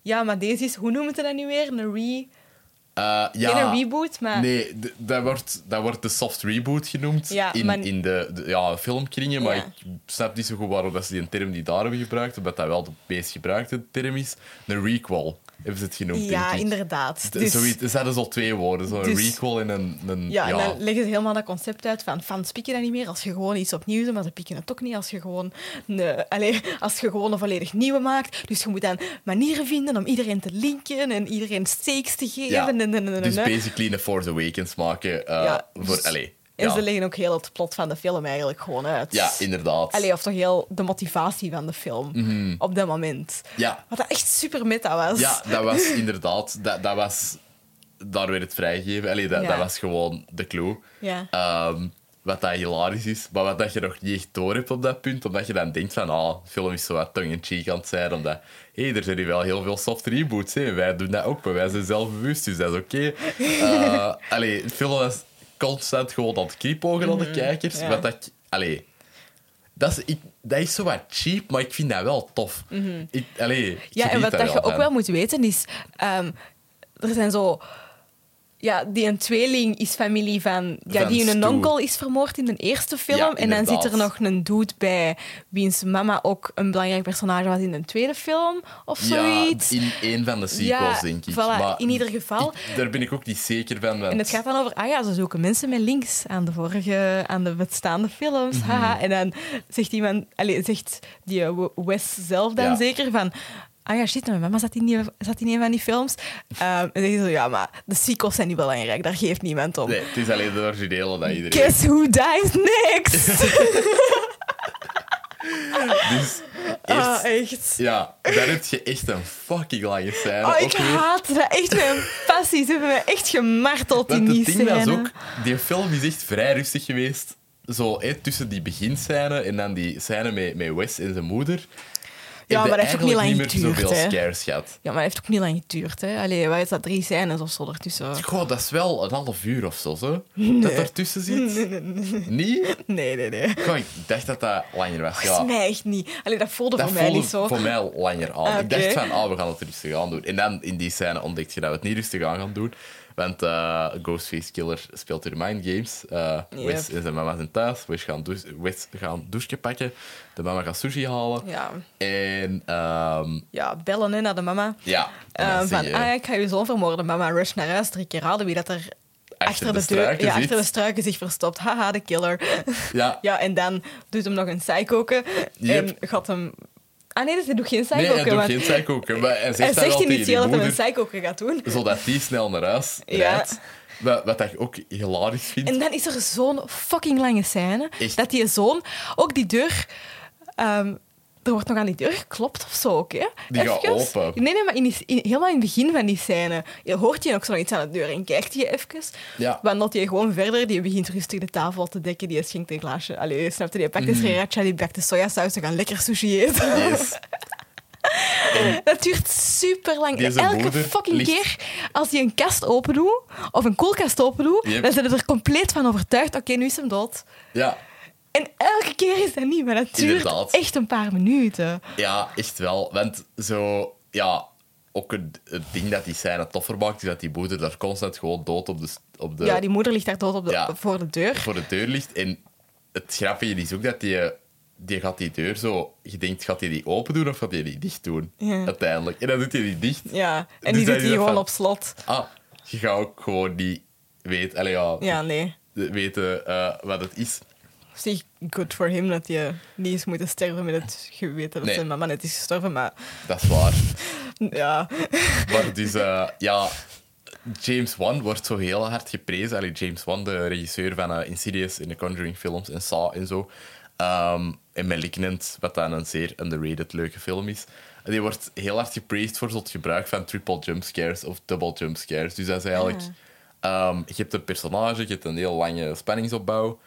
B: Ja, maar deze is... Hoe noemen ze dat nu weer? Een re...
A: eh, ja.
B: Geen een reboot, maar...
A: Nee, d- dat wordt, dat wordt de soft reboot genoemd
B: Ja,
A: in,
B: maar-
A: in de, de- ja, filmkringen. Maar
B: Ja.
A: ik snap niet zo goed waarom dat ze die term die daar hebben gebruikt, omdat dat wel de meest gebruikte term is. Een requel hebben ze het genoemd,
B: Ja,
A: denk ik.
B: inderdaad.
A: D-
B: Dus,
A: Zoiets, dus dat is al twee woorden. Zo'n
B: Dus-
A: requel en een... een
B: ja,
A: ja,
B: en dan leggen ze helemaal dat concept uit van fans pikken dat niet meer als je gewoon iets opnieuw doet, maar ze pikken het ook niet als je gewoon, een- eh, allee, als je gewoon een volledig nieuwe maakt. Dus je moet dan manieren vinden om iedereen te linken en iedereen stakes te geven.
A: Ja.
B: en- en- en- en-
A: Dus
B: en-
A: basically een Force Awakens maken eh,
B: Ja,
A: voor...
B: dus-
A: Allee,
B: En
A: Ja.
B: ze leggen ook heel het plot van de film eigenlijk gewoon uit.
A: Ja, inderdaad.
B: Allee, of toch heel de motivatie van de film op dat moment.
A: Mhm. Ja.
B: Wat dat echt super meta was.
A: Ja, dat was inderdaad. Dat, dat was. Daar werd het vrijgegeven. Allee, dat,
B: Ja.
A: dat was gewoon de clue.
B: Ja.
A: Ehm, wat dat hilarisch is, maar wat dat je nog niet echt door hebt op dat punt, omdat je dan denkt van, ah, de film is zo wat tongue-in-cheek aan het zijn, omdat, hé, hey, er zijn hier wel heel veel soft reboots, hè. wij doen dat ook, maar wij zijn zelfbewust, dus dat is oké. Eh, allee, de film was constant gewoon aan het knipogen aan de kijkers,
B: Mhm. ja.
A: wat dat ik- allee, dat is, ik, dat is zo wat cheap, maar ik vind dat wel tof. Ik, allee, ik
B: Mhm. Ja, en
A: geniet
B: wat
A: daar
B: dat je
A: van.
B: ook wel moet weten is... ehm, er zijn zo... Ja, die een tweeling is familie van... Ja,
A: Van
B: die hun
A: Stu.
B: onkel is vermoord in de eerste film.
A: Ja,
B: en dan
A: inderdaad.
B: zit er nog een dude bij wiens mama ook een belangrijk personage was in de tweede film of zoiets.
A: Ja, in een van de sequels,
B: Ja,
A: denk ik.
B: voilà, in ieder geval.
A: ik- daar ben ik ook niet zeker van. want-
B: En het gaat dan over, ah ja, ze zoeken mensen met links aan de vorige, aan de bestaande films.
A: Mhm.
B: haha. En dan zegt iemand, allez, zegt die eh, W- Wes zelf dan
A: Ja.
B: zeker van, ah ja, shit, mijn mama zat in, die, zat in een van die films. Ehm, en dan zegt ze, ja, maar de sequels zijn niet belangrijk, daar geeft niemand om.
A: Nee, het is alleen de originele dat iedereen...
B: Guess who dies next?
A: Dus eerst-
B: Ah, echt.
A: Ja, daar heb je echt een fucking lange scène.
B: Oh, ik
A: ook weer.
B: haat dat. Echt mijn passie. Ze hebben me echt gemarteld in
A: Want
B: die
A: het ding
B: scène.
A: was ook... Die film is echt vrij rustig geweest. Zo, hè, tussen die beginscène en dan die scène met, met Wes en zijn moeder.
B: Ja, maar dat heeft ook niet lang
A: niet meer
B: geduurd,
A: zoveel
B: hè.
A: scares gehad.
B: Ja, maar het heeft ook niet lang geduurd. Hè. Allee, waar is dat? Drie scènes of zo ertussen.
A: Goh, dat is wel een half uur of zo, zo. Dat ertussen zit. Niet?
B: Nee, nee, nee.
A: Goh, ik dacht dat dat langer was. Ja.
B: Volgens mij echt niet. Allee, dat voelde
A: Dat
B: Oh, voor mij
A: voelde
B: niet zo.
A: voor mij al langer aan.
B: Ah,
A: Ik dacht
B: oké.
A: van, ah, we gaan het rustig aan doen. En dan in die scène ontdekt je dat we het niet rustig aan gaan doen. Want eh, Ghostface Killer speelt hier mind games. Eh,
B: Yep.
A: Wes en zijn mama zijn thuis. Wes gaan, douche, Wes gaan douche pakken. De mama gaat sushi halen.
B: Ja.
A: En ehm,
B: Ja, bellen hè, naar de mama.
A: ja, en dan
B: Eh,
A: zie
B: van,
A: je
B: ah, ja, ik ga je zoon vermoorden. Mama, rush naar huis. Drie keer raden wie dat er achter, de, deur,
A: struiken
B: ja,
A: zit.
B: achter de struiken zich verstopt. Haha, de killer.
A: Ja.
B: ja, en dan doet hem nog een psychoken.
A: Yep.
B: En gaat hem... Ah nee, dus hij doet geen
A: Nee,
B: psychoken.
A: hij doet
B: want
A: geen psychoken. Maar hij zegt,
B: hij
A: dat wel
B: zegt
A: tegen die
B: initieel dat hij
A: moeder,
B: een psychoken gaat doen.
A: Zodat die snel naar huis
B: Ja.
A: rijdt. Wat, wat ik ook hilarisch vind.
B: En dan is er zo'n fucking lange scène.
A: Echt.
B: Dat die zoon ook die deur. ehm, er wordt nog aan die deur geklopt of zo ook, hè?
A: Die gaat
B: Even.
A: open.
B: Nee, nee, maar in die- in- helemaal in het begin van die scène je hoort je ook zo iets aan de deur en kijkt je even.
A: Ja.
B: Wandelt je gewoon verder, die begint rustig de tafel te dekken, die schenkt een glaasje. Allee, je snapt, die pakt
A: Mm.
B: een sriracha, die bakt de sojasaus, ze gaan lekker sushi eten.
A: Yes. Oh.
B: Dat duurt super lang.
A: Deze
B: Elke
A: moeder
B: fucking
A: ligt-
B: keer als je een kast open doet, of een koelkast open doet,
A: Yep.
B: dan zijn ze er compleet van overtuigd, oké, nu is hem dood.
A: Ja.
B: En elke keer is dat niet, maar dat duurt
A: Inderdaad.
B: echt een paar minuten.
A: Ja, echt wel. Want zo, ja, ook het, het ding dat die scène toffer maakt, is dat die moeder daar constant gewoon dood op de, s- op de,
B: Ja, die moeder ligt daar dood op de,
A: Ja.
B: voor de deur.
A: voor de deur ligt. En het grappige is ook dat die, die gaat die deur zo, je denkt, gaat hij die, open doen of gaat hij die dicht doen?
B: Ja.
A: Uiteindelijk. En dan doet hij die dicht.
B: Ja, en
A: Dus
B: die
A: dat
B: zit
A: je
B: hier
A: dat
B: gewoon
A: van-
B: op slot.
A: Ah, je gaat ook gewoon niet weten, allee, ja,
B: Ja, nee.
A: weten eh, wat het is.
B: Op zich good for him dat je niet eens moet sterven met het geweten dat
A: Nee.
B: zijn mama net is gestorven, maar
A: Dat is waar.
B: ja.
A: Maar dus, eh, ja, James Wan wordt zo heel hard geprezen. Allee, James Wan, de regisseur van eh, Insidious in de Conjuring films en Saw en zo. Ehm, en Malignant, wat dan een zeer underrated leuke film is. En Die wordt heel hard gepraised voor zo het gebruik van triple jumpscares of double jumpscares. Dus dat is eigenlijk... ehm, je hebt een personage, je hebt een heel lange spanningsopbouw.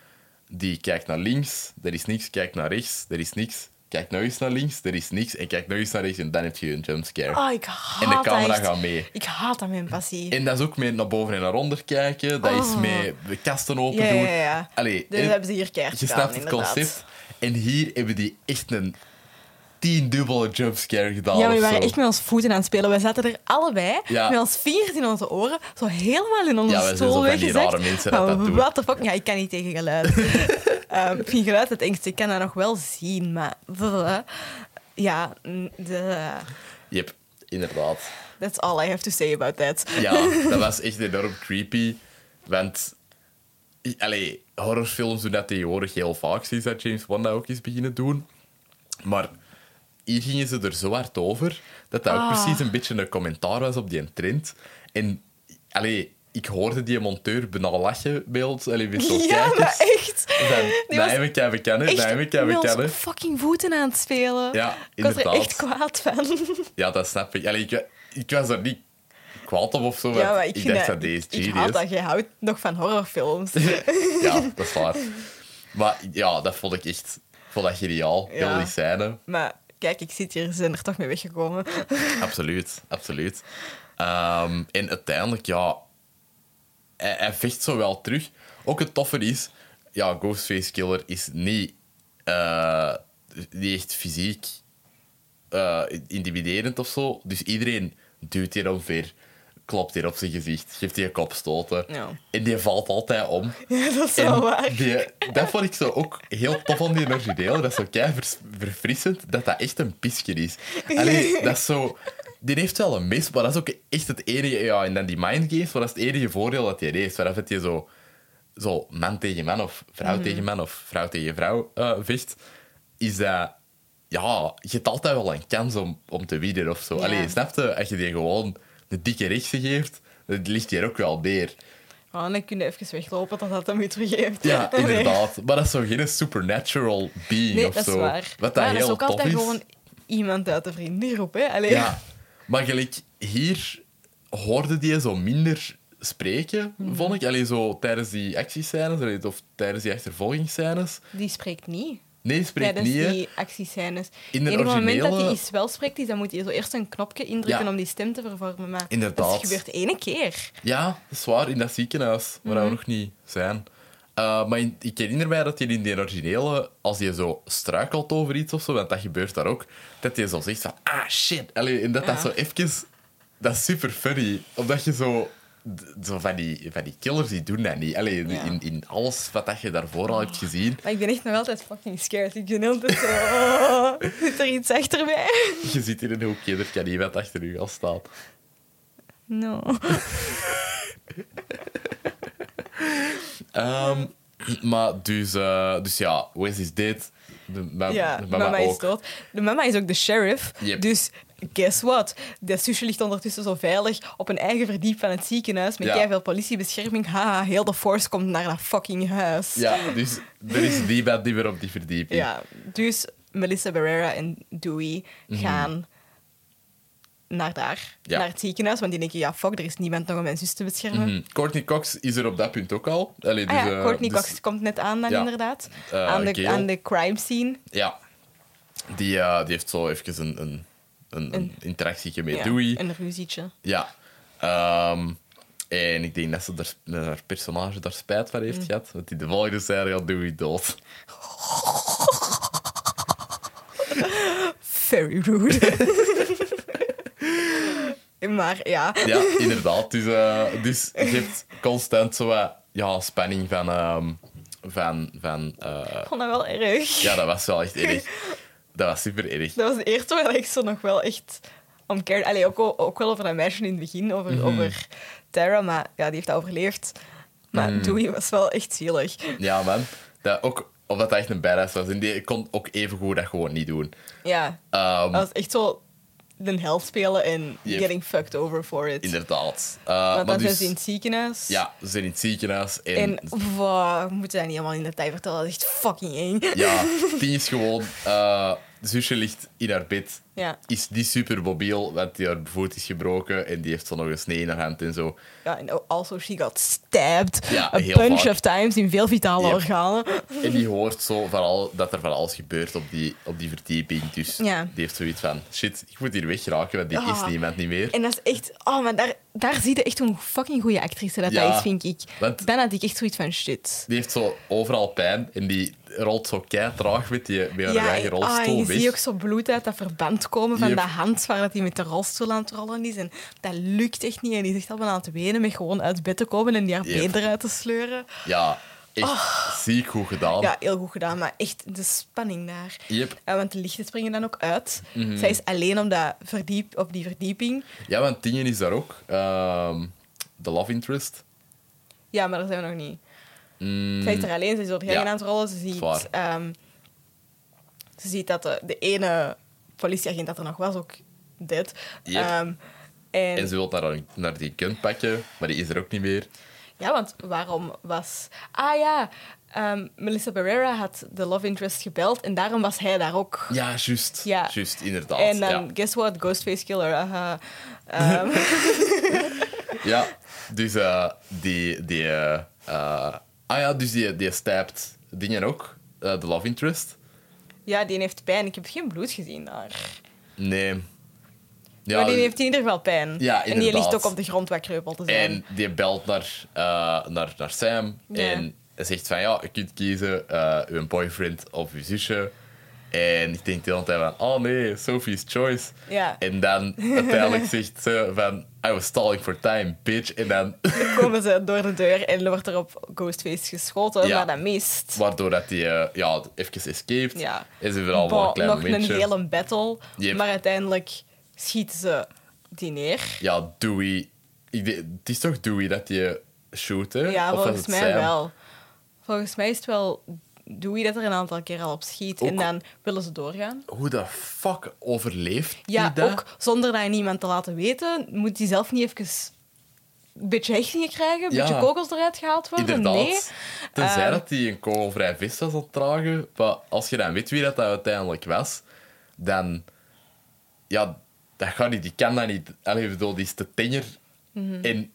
A: Die kijkt naar links, er is niks. Kijkt naar rechts, er is niks. Kijkt nou eens naar links, er is niks. En kijkt nou eens naar rechts en dan heb je een jumpscare.
B: Ah, ik haat
A: En de camera
B: dat echt.
A: gaat mee.
B: Ik haat dat met mijn passie.
A: En dat is ook met naar boven en naar onder kijken. Dat is
B: Oh.
A: met de kasten open
B: Ja,
A: doen.
B: ja, ja.
A: Allee,
B: Dus
A: en-
B: dat hebben ze hier keihard
A: je
B: gedaan,
A: snapt het
B: inderdaad.
A: concept. En hier hebben die echt een tiendubbele jumpscare gedaan.
B: Ja, we
A: of
B: waren
A: zo.
B: echt met ons voeten aan het spelen. We zaten er allebei
A: Ja.
B: met ons vingers in onze oren, zo helemaal in onze
A: Ja, wij zijn zo
B: stoel
A: van die
B: weggezakt.
A: rare mensen dat
B: Maar
A: dat doen.
B: What the fuck? Ja, ik kan niet tegen geluid. Ehm, ik vind geluid het engste. Ik kan dat nog wel zien, maar... eh, Ja, mm, de-
A: Yep, inderdaad.
B: that's all I have to say about that.
A: Ja, dat was echt enorm creepy. Want, i- allee, horrorfilms doen dat tegenwoordig heel vaak. Sinds dat James Wan dat ook is beginnen doen. Maar hier gingen ze er zo hard over dat dat ook
B: Ah.
A: precies een beetje een commentaar was op die trend. En, allee, ik hoorde die monteur bijna lachen beeld. Allee, bij zo'n
B: ja, maar
A: kijkers.
B: echt.
A: Van,
B: Die
A: dat
B: was
A: heb ik even kennen, dat heb ik
B: Echt
A: even
B: met
A: kennen.
B: onze fucking voeten aan het spelen.
A: Ja,
B: ik was er
A: inderdaad.
B: echt kwaad van.
A: Ja, dat snap ik. Allee, ik, ik was er niet kwaad op of zo. want ik,
B: vind
A: dacht
B: dat-
A: dat deze
B: Ik, ik
A: genius.
B: haat dat. Je houdt nog van horrorfilms.
A: ja, dat is waar. Maar ja, dat vond ik echt ik vond dat geniaal. Heel
B: Ja.
A: die scène.
B: maar kijk, ik zit hier. Ze zijn er toch mee weggekomen.
A: Absoluut, absoluut. Ehm, en uiteindelijk, ja, hij, hij vecht zo wel terug. Ook het toffe is, ja, Ghostface Killer is niet, eh, niet echt fysiek eh, intimiderend of zo. Dus iedereen duwt hier omver, klopt hier op zijn gezicht, geeft hier kopstoten.
B: Ja.
A: En die valt altijd om.
B: Ja, dat is wel
A: En
B: waar.
A: die- dat vond ik zo ook heel tof aan die origineel. Dat is zo kei vers- verfrissend dat dat echt een pisje is. Allee, dat is zo... Die heeft wel een mis, maar dat is ook echt het enige... Ja, en dan die mindgames, maar dat is het enige voordeel dat hij heeft. Waaraf dat je zo, zo man tegen man of
B: Mhm.
A: vrouw tegen man of vrouw tegen vrouw eh vecht, is dat... Ja, je hebt altijd wel een kans om, om te winnen of zo.
B: Ja.
A: Allee, snap je? Als je die gewoon de dikke rechtse geeft, dat ligt hier ook wel neer.
B: Oh, dan kun je even weglopen dat dat hem weer teruggeeft.
A: Ja,
B: Nee.
A: inderdaad. Maar dat is zo geen supernatural being
B: Nee,
A: of
B: dat
A: zo.
B: is waar.
A: Wat dat
B: maar dat
A: heel
B: is ook
A: tof
B: altijd
A: is.
B: gewoon iemand uit de vriendengroep, hè? Allee.
A: Ja. Maar gelijk, hier hoorde die zo minder spreken,
B: Mhm.
A: vond ik. Alleen zo tijdens die actiescènes allee, of tijdens die achtervolgingsscènes.
B: Die spreekt niet.
A: Nee, die spreekt
B: tijdens
A: niet. hè.
B: die actiescènes.
A: In de
B: het enige moment dat
A: originele-
B: hij iets wel spreekt, is dan moet je zo eerst een knopje indrukken
A: Ja.
B: om die stem te vervormen. Maar
A: Inderdaad.
B: dat gebeurt één keer.
A: Ja, dat is waar, in dat ziekenhuis, waar
B: Mhm.
A: we nog niet zijn. Eh, maar in- ik herinner mij dat hij in die originele, als je zo struikelt over iets of zo, want dat gebeurt daar ook, dat je zo zegt van, ah shit. Allee, en dat dat
B: Ja.
A: zo even, dat is super funny. Omdat je zo, d- zo van, die, van die killers, die doen dat niet. Allee, in-
B: Ja. Oh.
A: in, in alles wat dat je daarvoor al hebt gezien,
B: Maar ik ben echt nog altijd fucking scared. Ik ben altijd zo... Oh, zit er iets achter mij?
A: je zit in een hoekje, er kan iemand achter je al staan.
B: No.
A: Ehm, maar dus, eh, dus ja, Wes is dit. De, ma-
B: Ja,
A: de
B: de mama, is
A: ook.
B: dood. De mama is ook de sheriff.
A: Yep.
B: Dus guess what? Dat zusje ligt ondertussen zo veilig op een eigen verdiep van het ziekenhuis met
A: Ja.
B: jij veel politiebescherming. Haha, heel de force komt naar dat fucking huis.
A: Ja, dus er is die band die weer op die verdieping.
B: Ja, dus Melissa Barrera en Dewey gaan naar daar,
A: Mhm. Ja.
B: naar het ziekenhuis. Want die denken, ja, fuck, er is niemand nog om mijn zus te beschermen.
A: Mhm. Courtney Cox is er op dat punt ook al. Allee,
B: Ah
A: dus,
B: ja,
A: eh,
B: Courtney
A: dus-
B: Cox komt net aan dan
A: ja.
B: inderdaad.
A: Eh,
B: aan, de,
A: Gail.
B: aan de crime scene.
A: Ja. Die, eh, die heeft zo even een, een, een, een interactietje met
B: Ja,
A: Dewey.
B: Een ruzietje.
A: Ja. Ehm, en ik denk dat ze daar, dat haar personage daar spijt van
B: Mm.
A: heeft gehad. Want in de volgende serie gaat Dewey dood.
B: Very rude. maar ja,
A: Ja, inderdaad. Dus, eh, dus je hebt constant zo wat ja, spanning van... ehm, van, van eh,
B: ik vond dat wel erg.
A: ja, dat was wel echt erg. Dat was super erg.
B: Dat was de eerste waar ik zo nog wel echt om keerde. Allee, ook, wel- ook wel over dat meisje in het begin, over,
A: Mhm.
B: over Tara, maar ja, die heeft dat overleefd. Maar
A: Mhm.
B: Dewey was wel echt zielig.
A: Ja, man. Dat ook, omdat dat echt een badass was. En die kon ook evengoed dat gewoon niet doen.
B: Ja,
A: Ehm,
B: dat was echt zo de held spelen en
A: Yep.
B: getting fucked over for it.
A: Inderdaad. Eh,
B: Want
A: maar
B: dan
A: dus,
B: zijn ze in het ziekenhuis.
A: Ja, ze zijn in het ziekenhuis. En,
B: En wow, we moeten dat niet allemaal in detail vertellen, dat is echt fucking eng.
A: ja, het ding is gewoon... eh, zusje ligt in haar bed.
B: Ja.
A: Is niet super mobiel, want die haar voet is gebroken. En die heeft zo nog een snee in haar hand en zo.
B: Ja, en also she got stabbed
A: Ja,
B: a
A: heel
B: bunch
A: vaak.
B: of times in veel vitale
A: Yep.
B: organen.
A: En die hoort zo vooral dat er van alles gebeurt op die, op die verdieping. Dus
B: Ja.
A: die heeft zoiets van... Shit, ik moet hier wegraken, want die
B: Ah.
A: is niemand niet meer.
B: En dat is echt... Oh, maar daar, daar zie je echt hoe fucking goede actrice dat,
A: Ja,
B: dat is, vind ik.
A: want-
B: Dan had ik echt zoiets van shit.
A: Die heeft zo overal pijn en die rolt zo kei traag met, die, met haar eigen
B: ah, en
A: rolstoel
B: je
A: weg.
B: ziet ook zo bloed uit dat verband komen van
A: Die
B: dat
A: heeft-
B: hand waar dat hij met de rolstoel aan het rollen is. En dat lukt echt niet. En die zegt al bijna aan het wenen met gewoon uit bed te komen en die haar
A: Yep.
B: been eruit te sleuren.
A: Ja, echt ziek goed gedaan.
B: Oh. Ja, heel goed gedaan, maar echt de spanning daar.
A: Yep.
B: Ja, want de lichten springen dan ook uit.
A: Mhm.
B: Zij is alleen op, dat verdiep, op die verdieping.
A: Ja, want Tingen is daar ook. Ehm, de love interest.
B: Ja, maar daar zijn we nog niet.
A: Mm,
B: Zij is er alleen, ze is door de gang
A: Ja.
B: aan het rollen. Ze ziet,
A: Zwaar.
B: ehm, ze ziet dat de, de ene politieagent dat er nog was ook dead.
A: Yep.
B: Ehm, En,
A: En ze wil naar, naar die kunt pakken, maar die is er ook niet meer.
B: Ja, want waarom was... Ah ja, ehm, Melissa Barrera had de love interest gebeld en daarom was hij daar ook.
A: Ja, juist.
B: Ja.
A: Juist, inderdaad.
B: en dan,
A: ja.
B: guess what, Ghostface Killer. aha. Ehm,
A: ja, dus eh, die... die eh, eh, ah ja, dus die, die stapt dingen ook, eh, de love interest.
B: ja, die heeft pijn. Ik heb geen bloed gezien daar.
A: Nee. Ja,
B: maar die heeft in ieder geval pijn.
A: Ja,
B: en die ligt
A: inderdaad.
B: ook op de grond wat kreupel te zijn.
A: En die belt naar, eh, naar, naar Sam
B: Ja.
A: en zegt van ja, je kunt kiezen eh, uw boyfriend of uw zusje. En ik denk de hele tijd van, oh nee, Sophie's choice.
B: Ja.
A: En dan uiteindelijk zegt ze van, I was stalling for time, bitch. En dan,
B: komen ze door de deur en er wordt er op Ghostface geschoten,
A: Ja.
B: maar dat mist.
A: waardoor dat die eh, ja, even escaped.
B: Ja.
A: En ze willen allemaal
B: Bon,
A: een klein
B: nog
A: momentje.
B: een hele battle,
A: Yep.
B: maar uiteindelijk schieten ze die neer.
A: Ja, Dewey. Ik denk- het is toch Dewey dat je shoot, hè?
B: Ja,
A: Of was
B: volgens
A: het
B: mij
A: Sam?
B: wel. Volgens mij is het wel Dewey dat er een aantal keer al op schiet en
A: Ook-
B: dan willen ze doorgaan.
A: Hoe de fuck overleeft
B: Ja,
A: die dat?
B: ook zonder dat aan iemand te laten weten, moet die zelf niet even een beetje hechtingen krijgen, een
A: Ja.
B: beetje kogels eruit gehaald worden.
A: Inderdaad.
B: Nee.
A: Tenzij
B: Ehm.
A: dat hij een kogelvrij vis was aan het dragen. Maar als je dan weet wie dat, dat uiteindelijk was, dan... Ja, dat gaat niet. Die kan dat niet. Allee, ik bedoel, die is te tenger
B: Mhm.
A: en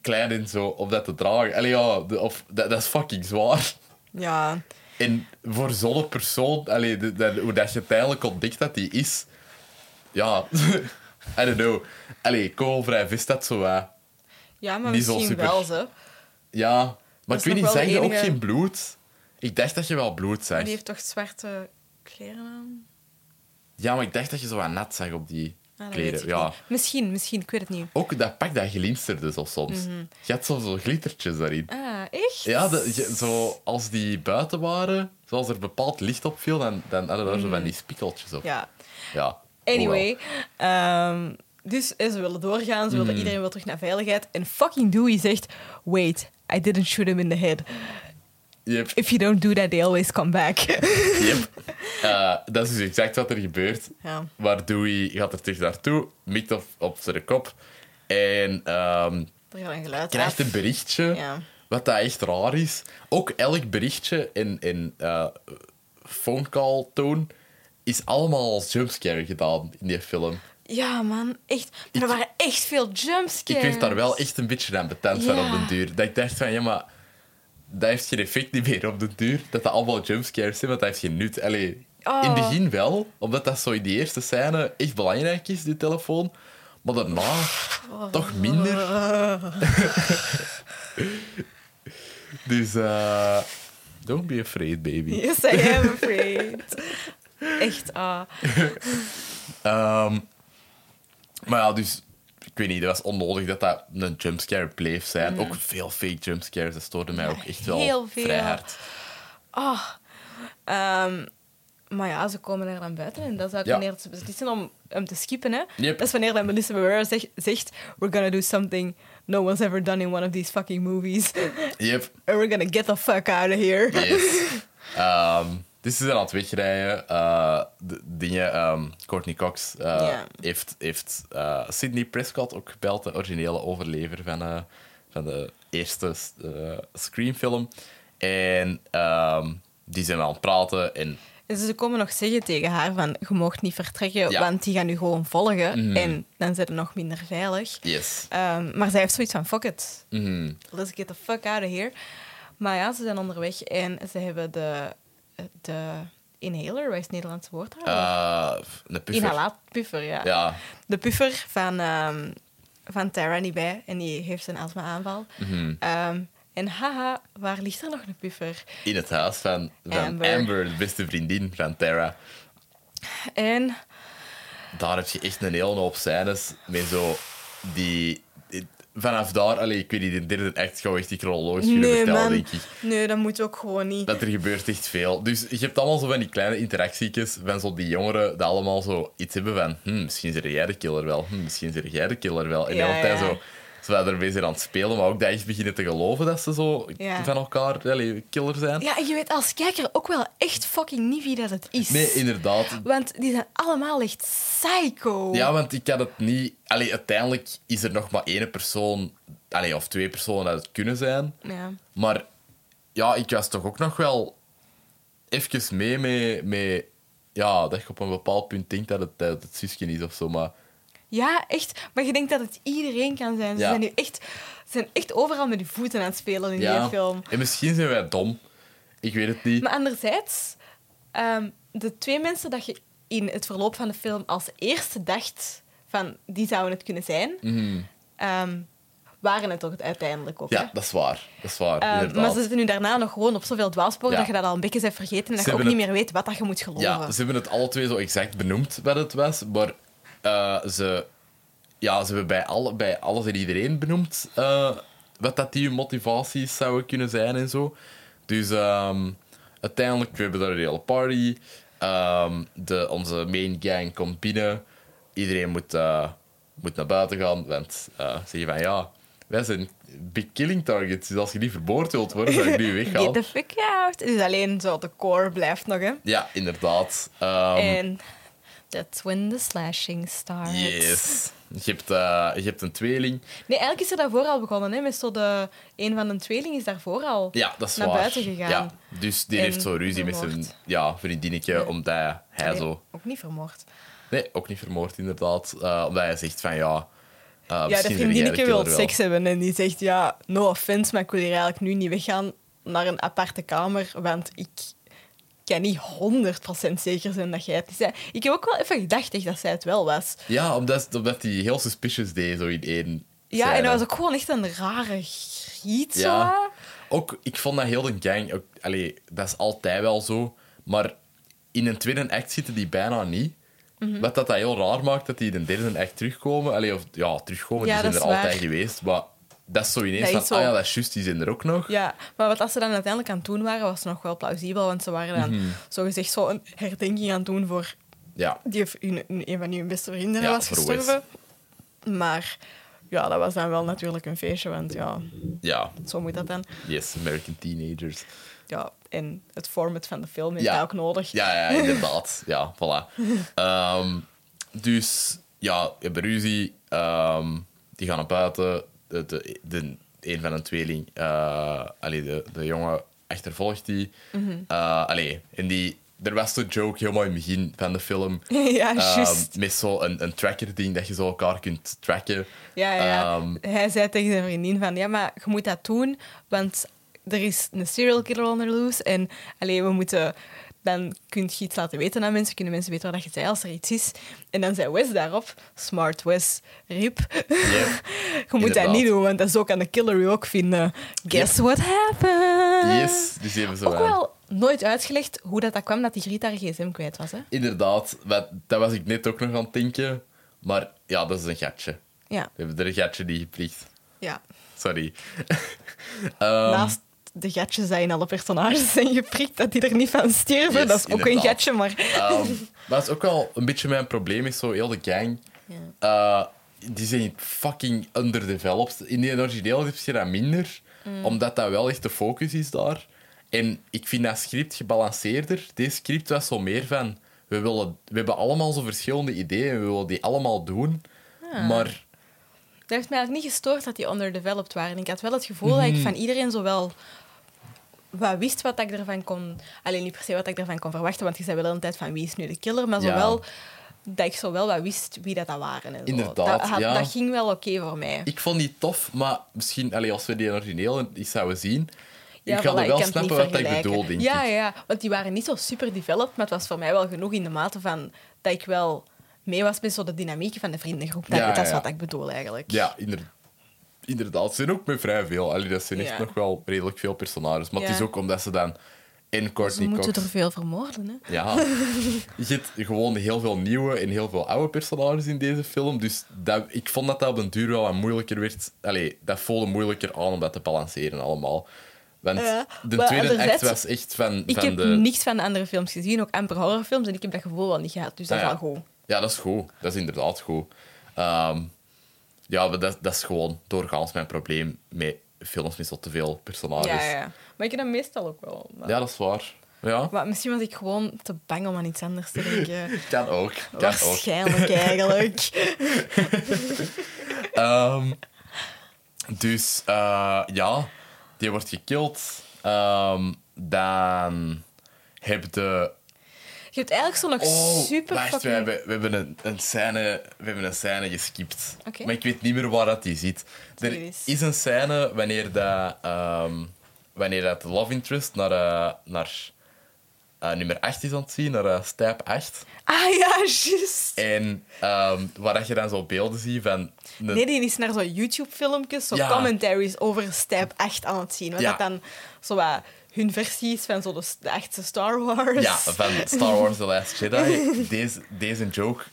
A: klein en zo om dat te dragen. Allee, ja, de- of, dat, dat is fucking zwaar.
B: Ja,
A: En voor zo'n persoon, allee, de- dat- hoe dat je uiteindelijk ontdekt dat die is... Ja, I don't know. Allee, kogelvrij vis, dat zo wat.
B: ja maar
A: Niet zo
B: misschien
A: super.
B: wel ze.
A: Ja, maar
B: is
A: ik weet niet,
B: nog wel
A: zijn
B: de
A: er ook
B: enige-
A: geen bloed? Ik dacht dat je wel bloed zag.
B: Die heeft toch zwarte kleren aan?
A: Ja, maar ik dacht dat je zo wat nat zag op die
B: Ah, dat weet
A: kleren.
B: ik
A: Ja.
B: niet. Misschien, misschien, ik weet het niet.
A: Ook dat pak dat glinsterde zo soms.
B: Mhm.
A: Je had soms zo glittertjes daarin.
B: Ah, echt?
A: Ja, dat- je- zo, als die buiten waren, zoals er bepaald licht op viel, dan, dan hadden daar zo van die spiekeltjes op.
B: Mhm. Ja.
A: Ja. Oh,
B: Anyway, ehm, dus eh, ze willen doorgaan, ze willen,
A: Hmm.
B: iedereen wil terug naar veiligheid. En fucking Dewey zegt, wait, I didn't shoot him in the head.
A: Jep,
B: If you don't do that, they always come back.
A: jep. Eh, dat is dus exact wat er gebeurt.
B: ja.
A: Maar Dewey gaat er terug naartoe, mikt op, op zijn kop en ehm,
B: Er gaat een geluid
A: krijgt
B: af.
A: een berichtje.
B: Ja.
A: Wat dat echt raar is. Ook elk berichtje en, en eh, phone call toon is allemaal als jumpscare gedaan in die film.
B: Ja, man, echt. Maar er waren echt veel
A: Ik
B: jumpscares.
A: werd daar wel echt een beetje aan betent van
B: Ja.
A: op den duur. Dat ik dacht van, ja, maar dat heeft geen effect niet meer op den duur. Dat dat allemaal jumpscares zijn, want dat heeft geen nut. Allee,
B: Oh.
A: in het begin wel, omdat dat zo in die eerste scène echt belangrijk is, die telefoon. Maar daarna
B: Oh.
A: toch minder. Dus, eh, don't be afraid, baby.
B: Yes, I am afraid. echt, ah.
A: Ehm, maar ja, dus... Ik weet niet, dat was onnodig dat dat een jumpscare bleef zijn. Ook veel fake jumpscares, dat stoorde mij ook echt wel
B: Mhm. heel veel.
A: vrij hard.
B: Ehm, maar ja, ze komen er dan buiten en dat is ook
A: Ja.
B: wanneer ze beslissen om hem te skippen. Hè.
A: Yep.
B: Dat is wanneer dan Melissa Barrera zegt, zegt: We're gonna do something no one's ever done in one of these fucking movies. And
A: Yep,
B: we're gonna get the fuck out of here.
A: yes. Ehm, dus ze zijn aan het wegrijden. Eh, de, dingen, ehm, Courtney Cox eh,
B: Ja.
A: heeft, heeft eh, Sidney Prescott ook gebeld, de originele overlever van, eh, van de eerste eh, Scream-film. En ehm, die zijn aan het praten en
B: En Dus ze komen nog zeggen tegen haar: van, Je mag niet vertrekken,
A: Ja. Mhm.
B: want die gaan u gewoon volgen. En dan zijn ze nog minder veilig.
A: yes.
B: Ehm, maar zij heeft zoiets van: Fuck it.
A: Mhm.
B: Let's get the fuck out of here. Maar ja, ze zijn onderweg en ze hebben de, de inhaler, wat is het Nederlandse woord daarvoor?
A: Eh, een puffer.
B: Inhalaatpuffer, ja.
A: Ja,
B: De puffer van, ehm, van Tara niet bij en die heeft een astma-aanval.
A: Mhm.
B: Ehm, en haha, waar ligt er nog een puffer?
A: in het huis van, van Amber.
B: Amber.
A: de beste vriendin van Tara.
B: En
A: Daar heb je echt een hele hoop scènes met zo die... die- Vanaf daar, allee, ik weet niet, de derde act gaan we echt die chronologisch kunnen
B: nee,
A: vertellen,
B: man.
A: denk ik.
B: Nee, dat moet ook gewoon niet.
A: Dat er gebeurt echt veel. Dus je hebt allemaal zo van die kleine interactiekjes van zo die jongeren die allemaal zo iets hebben van hm, misschien is er jij de killer wel, hm, misschien is er jij de killer wel. En de
B: Ja,
A: hele tijd
B: ja.
A: zo Ze waren ermee zijn aan het spelen, maar ook dat echt beginnen te geloven dat ze zo
B: Ja.
A: van elkaar allee, killer zijn.
B: Ja, en je weet als kijker ook wel echt fucking niet wie dat het is.
A: Nee, inderdaad.
B: Want die zijn allemaal echt psycho.
A: Ja, want ik kan het niet... Allee, uiteindelijk is er nog maar één persoon, allee, of twee personen dat het kunnen zijn.
B: Ja.
A: Maar ja, ik was toch ook nog wel even mee met... met ja, dat je op een bepaald punt denkt dat het, dat het zusje is of zo, maar...
B: Ja, echt. Maar je denkt dat het iedereen kan zijn. Ze
A: Ja.
B: zijn nu echt, ze zijn echt overal met die voeten aan het spelen in die film.
A: En misschien zijn wij dom. Ik weet het niet.
B: Maar anderzijds, ehm, de twee mensen dat je in het verloop van de film als eerste dacht van die zouden het kunnen zijn, ehm, waren het ook uiteindelijk ook. hè?
A: Mhm. Ja, dat is waar. Dat is waar,
B: Ehm,
A: inderdaad.
B: maar ze zitten nu daarna nog gewoon op zoveel dwaalsporen
A: Ja.
B: dat je dat al een beetje bent vergeten en dat
A: Ze
B: je ook
A: hebben
B: niet meer weet wat dat je moet geloven.
A: Ja, ze hebben het alle twee zo exact benoemd wat het was, maar eh, ze, ja, ze hebben bij, alle, bij alles en iedereen benoemd eh, wat dat die hun motivaties zouden kunnen zijn en zo. Dus ehm, uiteindelijk, we hebben daar een hele party. Ehm, de, onze main gang komt binnen. Iedereen moet, eh, moet naar buiten gaan, want eh zeg je van ja, wij zijn big killing targets, dus als je niet vermoord wilt worden, zou je nu
B: Get
A: weggaan.
B: the fuck out. Dus alleen zo de core blijft nog, hè.
A: Ja, inderdaad. Ehm,
B: En that's when the slashing starts.
A: Yes. Je hebt, eh, je hebt een tweeling.
B: Nee, eigenlijk is er daarvoor al begonnen. Hè? Met zo de, een van de tweeling is daarvoor al
A: Ja, dat is
B: naar
A: waar.
B: buiten gegaan.
A: Ja, dus die
B: En
A: heeft zo ruzie met zijn
B: vermoord.
A: ja, vriendinnetje, omdat hij
B: Allee,
A: zo...
B: Ook niet vermoord.
A: Nee, ook niet vermoord, inderdaad. Eh, omdat hij zegt van, ja... eh,
B: ja,
A: misschien ben
B: dat
A: jij de
B: vriendinnetje wil
A: killer wel.
B: seks hebben en die zegt, ja, no offense, maar ik wil hier eigenlijk nu niet weggaan naar een aparte kamer, want ik kan niet 100% zeker zijn dat jij het is. hè. Ik heb ook wel even gedacht echt, dat zij het wel was.
A: Ja, omdat, omdat hij heel suspicious deed, zo in één
B: Ja, en
A: scène.
B: dat was ook gewoon echt een rare griet. zo.
A: Ja. Ook, ik vond dat heel de gang... Ook, allee, dat is altijd wel zo. Maar in een tweede act zitten die bijna niet.
B: Mhm.
A: Wat dat, dat heel raar maakt, dat die in de derde act terugkomen. Allee, of, ja, terugkomen,
B: Ja,
A: die zijn
B: dat
A: er
B: is waar.
A: altijd geweest. Maar dat is zo ineens
B: Dat
A: van,
B: is
A: ah
B: zo.
A: ja, dat is juist, die zijn er ook nog.
B: Ja, maar wat als ze dan uiteindelijk aan het doen waren, was nog wel plausibel. Want ze waren dan
A: Mhm.
B: zogezegd zo een herdenking aan het doen voor
A: Ja.
B: die v- hun, hun- een van hun beste vrienden
A: Ja,
B: was
A: voor Wes.
B: gestorven. Maar ja, dat was dan wel natuurlijk een feestje, want ja,
A: ja,
B: zo moet dat dan.
A: yes, American Teenagers.
B: Ja, en het format van de film is
A: Ja.
B: daar ook nodig.
A: Ja, ja inderdaad. ja, voilà. Ehm, dus ja, je hebt ruzie. ehm, die gaan naar buiten. De, de, de, een van een tweeling, eh, allee, de, de jongen, achtervolgt die.
B: Mhm.
A: Eh, allee, en die, er was zo'n joke helemaal in het begin van de film.
B: Ja,
A: ehm,
B: juist.
A: Met zo'n een, een tracker-ding dat je zo elkaar kunt tracken.
B: Ja, ja.
A: Ehm,
B: Hij zei tegen zijn vriendin van, ja, maar je moet dat doen, want er is een serial killer onder loose en alleen we moeten... Dan kun je iets laten weten aan mensen, kunnen mensen weten waar dat je zei als er iets is. En dan zei Wes daarop, smart Wes, riep.
A: yep.
B: je moet
A: Inderdaad.
B: dat niet doen, want dat zo kan de killer je ook vinden. Guess what happened?
A: Yes, dus die hebben ze
B: Ook
A: wel.
B: wel nooit uitgelegd hoe dat, dat kwam dat die Griet haar gsm kwijt was, hè?
A: Inderdaad, wat, dat was ik net ook nog aan het denken. Maar ja, dat is een gatje.
B: Ja,
A: We hebben er een gatje die geplicht.
B: ja.
A: Sorry. Ehm,
B: naast de gatjes die in alle personages zijn geprikt, dat die er niet van sterven.
A: Yes,
B: dat is ook
A: inderdaad.
B: een gatje, maar...
A: ehm, maar dat is ook wel een beetje mijn probleem, is zo heel de gang. Eh, die zijn fucking underdeveloped. In de origineel is je dat minder, omdat dat wel echt de focus is daar. En ik vind dat script gebalanceerder. Deze script was zo meer van... We, willen, we hebben allemaal zo verschillende ideeën, we willen die allemaal doen. Maar
B: Dat heeft mij eigenlijk niet gestoord dat die underdeveloped waren. Ik had wel het gevoel
A: Mhm.
B: dat ik van iedereen zo wel wat wist wat ik ervan kon... Alleen niet per se wat ik ervan kon verwachten, want je zei wel een tijd van wie is nu de killer, maar zo
A: Ja.
B: wel dat ik zo wel wat wist wie dat, dat waren. En zo.
A: Inderdaad,
B: dat, had-
A: ja.
B: dat ging wel oké voor mij.
A: Ik vond die tof, maar misschien allee, als we die origineel eens zouden zien.
B: Ja,
A: ik ga
B: voilà,
A: er wel
B: kan het
A: snappen
B: niet
A: wat ik
B: vergelijken.
A: bedoel, denk
B: ja,
A: ik.
B: Ja, ja, want die waren niet zo super developed, maar het was voor mij wel genoeg in de mate van dat ik wel mee was met zo de dynamiek van de vriendengroep. Dat,
A: Ja,
B: dat is
A: ja.
B: wat ik bedoel eigenlijk.
A: Ja, inder- inderdaad. Ze zijn ook met vrij veel. Allee, dat zijn echt
B: Ja.
A: nog wel redelijk veel personages. Maar het
B: Ja.
A: is ook omdat ze dan in
B: Ze
A: Courtney
B: moeten
A: Cox...
B: er veel vermoorden, hè?
A: Ja. Je hebt gewoon heel veel nieuwe en heel veel oude personages in deze film. Dus dat, ik vond dat dat op een duur wel wat moeilijker werd. Allee, dat voelde moeilijker aan om dat te balanceren allemaal. Want
B: Ja,
A: de
B: maar
A: tweede act
B: anderzijds-
A: was echt van,
B: Ik
A: van
B: heb
A: de...
B: niks van de andere films gezien, ook amper horrorfilms, en ik heb dat gevoel wel niet gehad, dus dat
A: Ah,
B: is
A: ja.
B: wel goed.
A: Ja, dat is goed. Dat is inderdaad goed. Ehm, Ja, maar dat, dat is gewoon doorgaans mijn probleem met films met zo te veel personages.
B: Ja,
A: Ja,
B: ja, ja. Maar ik heb dat meestal ook wel. Maar...
A: dat is waar. Ja,
B: Maar misschien was ik gewoon te bang om aan iets anders te denken.
A: kan ook. Kan ook.
B: Waarschijnlijk eigenlijk.
A: Ehm, dus eh, ja, die wordt gekild. Ehm, dan heb je...
B: Je hebt eigenlijk zo nog
A: Oh,
B: super
A: wacht, we
B: fucking...
A: hebben, we, hebben een, een scène, we hebben een scène geskipt.
B: Oké.
A: Maar ik weet niet meer waar dat die zit. Er
B: Hier is.
A: is een scène wanneer dat, ehm, wanneer dat de love interest naar, eh, naar eh, nummer 8 is aan het zien, naar eh, stijp 8.
B: Ah ja, juist.
A: En ehm, waar dat je dan zo beelden ziet van... een-
B: Nee, die is naar zo'n YouTube-filmpjes, zo
A: Ja.
B: commentaries over Step 8 aan het zien. Want
A: Ja.
B: dat dan zo wat hun versies van zo de, de echte Star Wars.
A: Ja, van Star Wars The Last Jedi. Deze, deze joke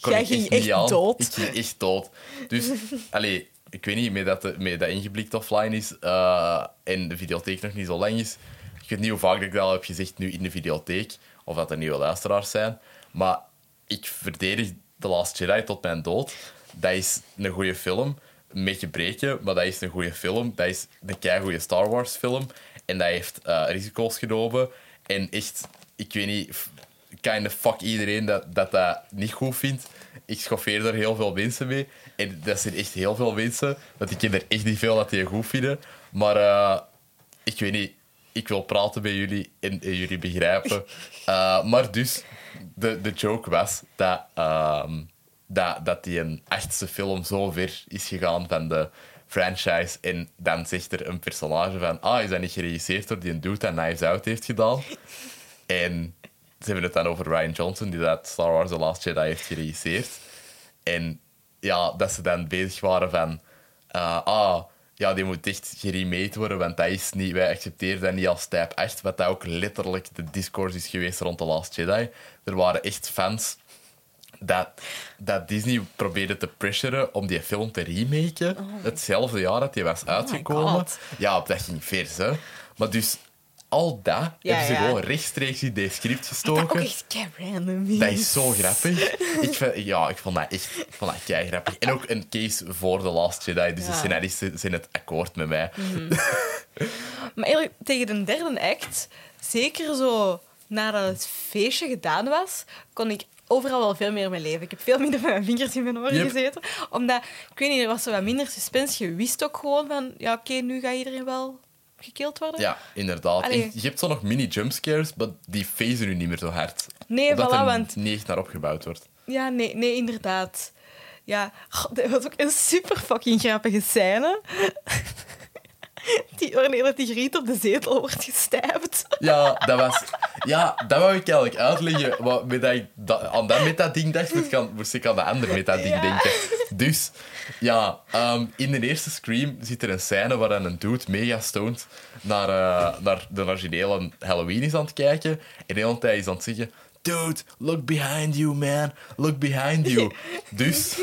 A: kon
B: Jij
A: ik
B: ging
A: echt niet
B: echt
A: aan.
B: dood.
A: Ik ging echt dood. Dus, allee, ik weet niet, met dat, de- met dat ingeblikt offline is eh, en de videotheek nog niet zo lang is. Ik weet niet hoe vaak dat ik dat al heb gezegd nu in de videotheek, of dat er nieuwe luisteraars zijn. Maar ik verdedig The Last Jedi tot mijn dood. Dat is een goede film. Met gebreken, maar dat is een goede film. Dat is een keigoede Star Wars film. En dat heeft eh, risico's genomen. En echt, ik weet niet, f- kind of fuck iedereen dat, dat dat niet goed vindt. Ik schoffeer er heel veel mensen mee. En dat zijn echt heel veel mensen. Want ik ken er echt niet veel dat die het goed vinden. Maar eh, ik weet niet, ik wil praten met jullie en, en jullie begrijpen. Eh, maar dus, de, de joke was dat, ehm, dat, dat die een achtste film zo ver is gegaan van de franchise. En dan zegt er een personage van, ah, is dat niet geregisseerd door die een dude dat Knives Out heeft gedaan? En ze hebben het dan over Ryan Johnson, die dat Star Wars The Last Jedi heeft geregisseerd. En ja, dat ze dan bezig waren van... eh, ah, ja, die moet echt geremade worden, want dat is niet... Wij accepteren dat niet als type 8, wat dat ook letterlijk de discourse is geweest rond The Last Jedi. Er waren echt fans dat, dat Disney probeerde te pressuren om die film te remaken.
B: Oh
A: Hetzelfde jaar dat die was uitgekomen.
B: God.
A: ja, dat ging vers, hè. Maar dus... Al dat hebben ze
B: ja.
A: gewoon rechtstreeks in dit script
B: Dat
A: gestoken.
B: ook echt kei random is.
A: Dat is zo grappig. ik vind, ja, ik vond dat echt ik vond dat kei grappig. En ook een case voor The Last Jedi. Dus de
B: Ja. Mhm.
A: scenaristen zijn het akkoord met mij.
B: Maar eigenlijk, tegen de derde act, zeker zo nadat het feestje gedaan was, kon ik overal wel veel meer mijn leven. Ik heb veel minder met mijn vingers in mijn oren
A: Yep.
B: gezeten. Omdat, ik weet niet, er was zo wat minder suspense. Je wist ook gewoon van, ja oké, nu gaat iedereen wel gekild worden.
A: Ja, inderdaad. En
B: Allee.
A: je hebt zo nog mini-jumpscares, maar die phasen nu niet meer zo hard.
B: Nee,
A: Omdat
B: voilà,
A: er
B: want-
A: niet echt naar opgebouwd wordt.
B: Ja, nee, nee inderdaad. Ja, God, dat was ook een super fucking grappige scène. Die, wanneer dat die griet op de zetel wordt gestijfd.
A: Ja, dat was... Ja, dat wou ik eigenlijk uitleggen. Maar met dat ik dat, aan dat metading dacht, moest ik aan, moest ik aan de andere metading
B: Ja.
A: denken. Dus, ja, ehm, in de eerste Scream zit er een scène waar dan een dude mega stoned naar, eh, naar de originele Halloween is aan het kijken. En de hele tijd is aan het zeggen... Dude, look behind you, man. Look behind you. Dus...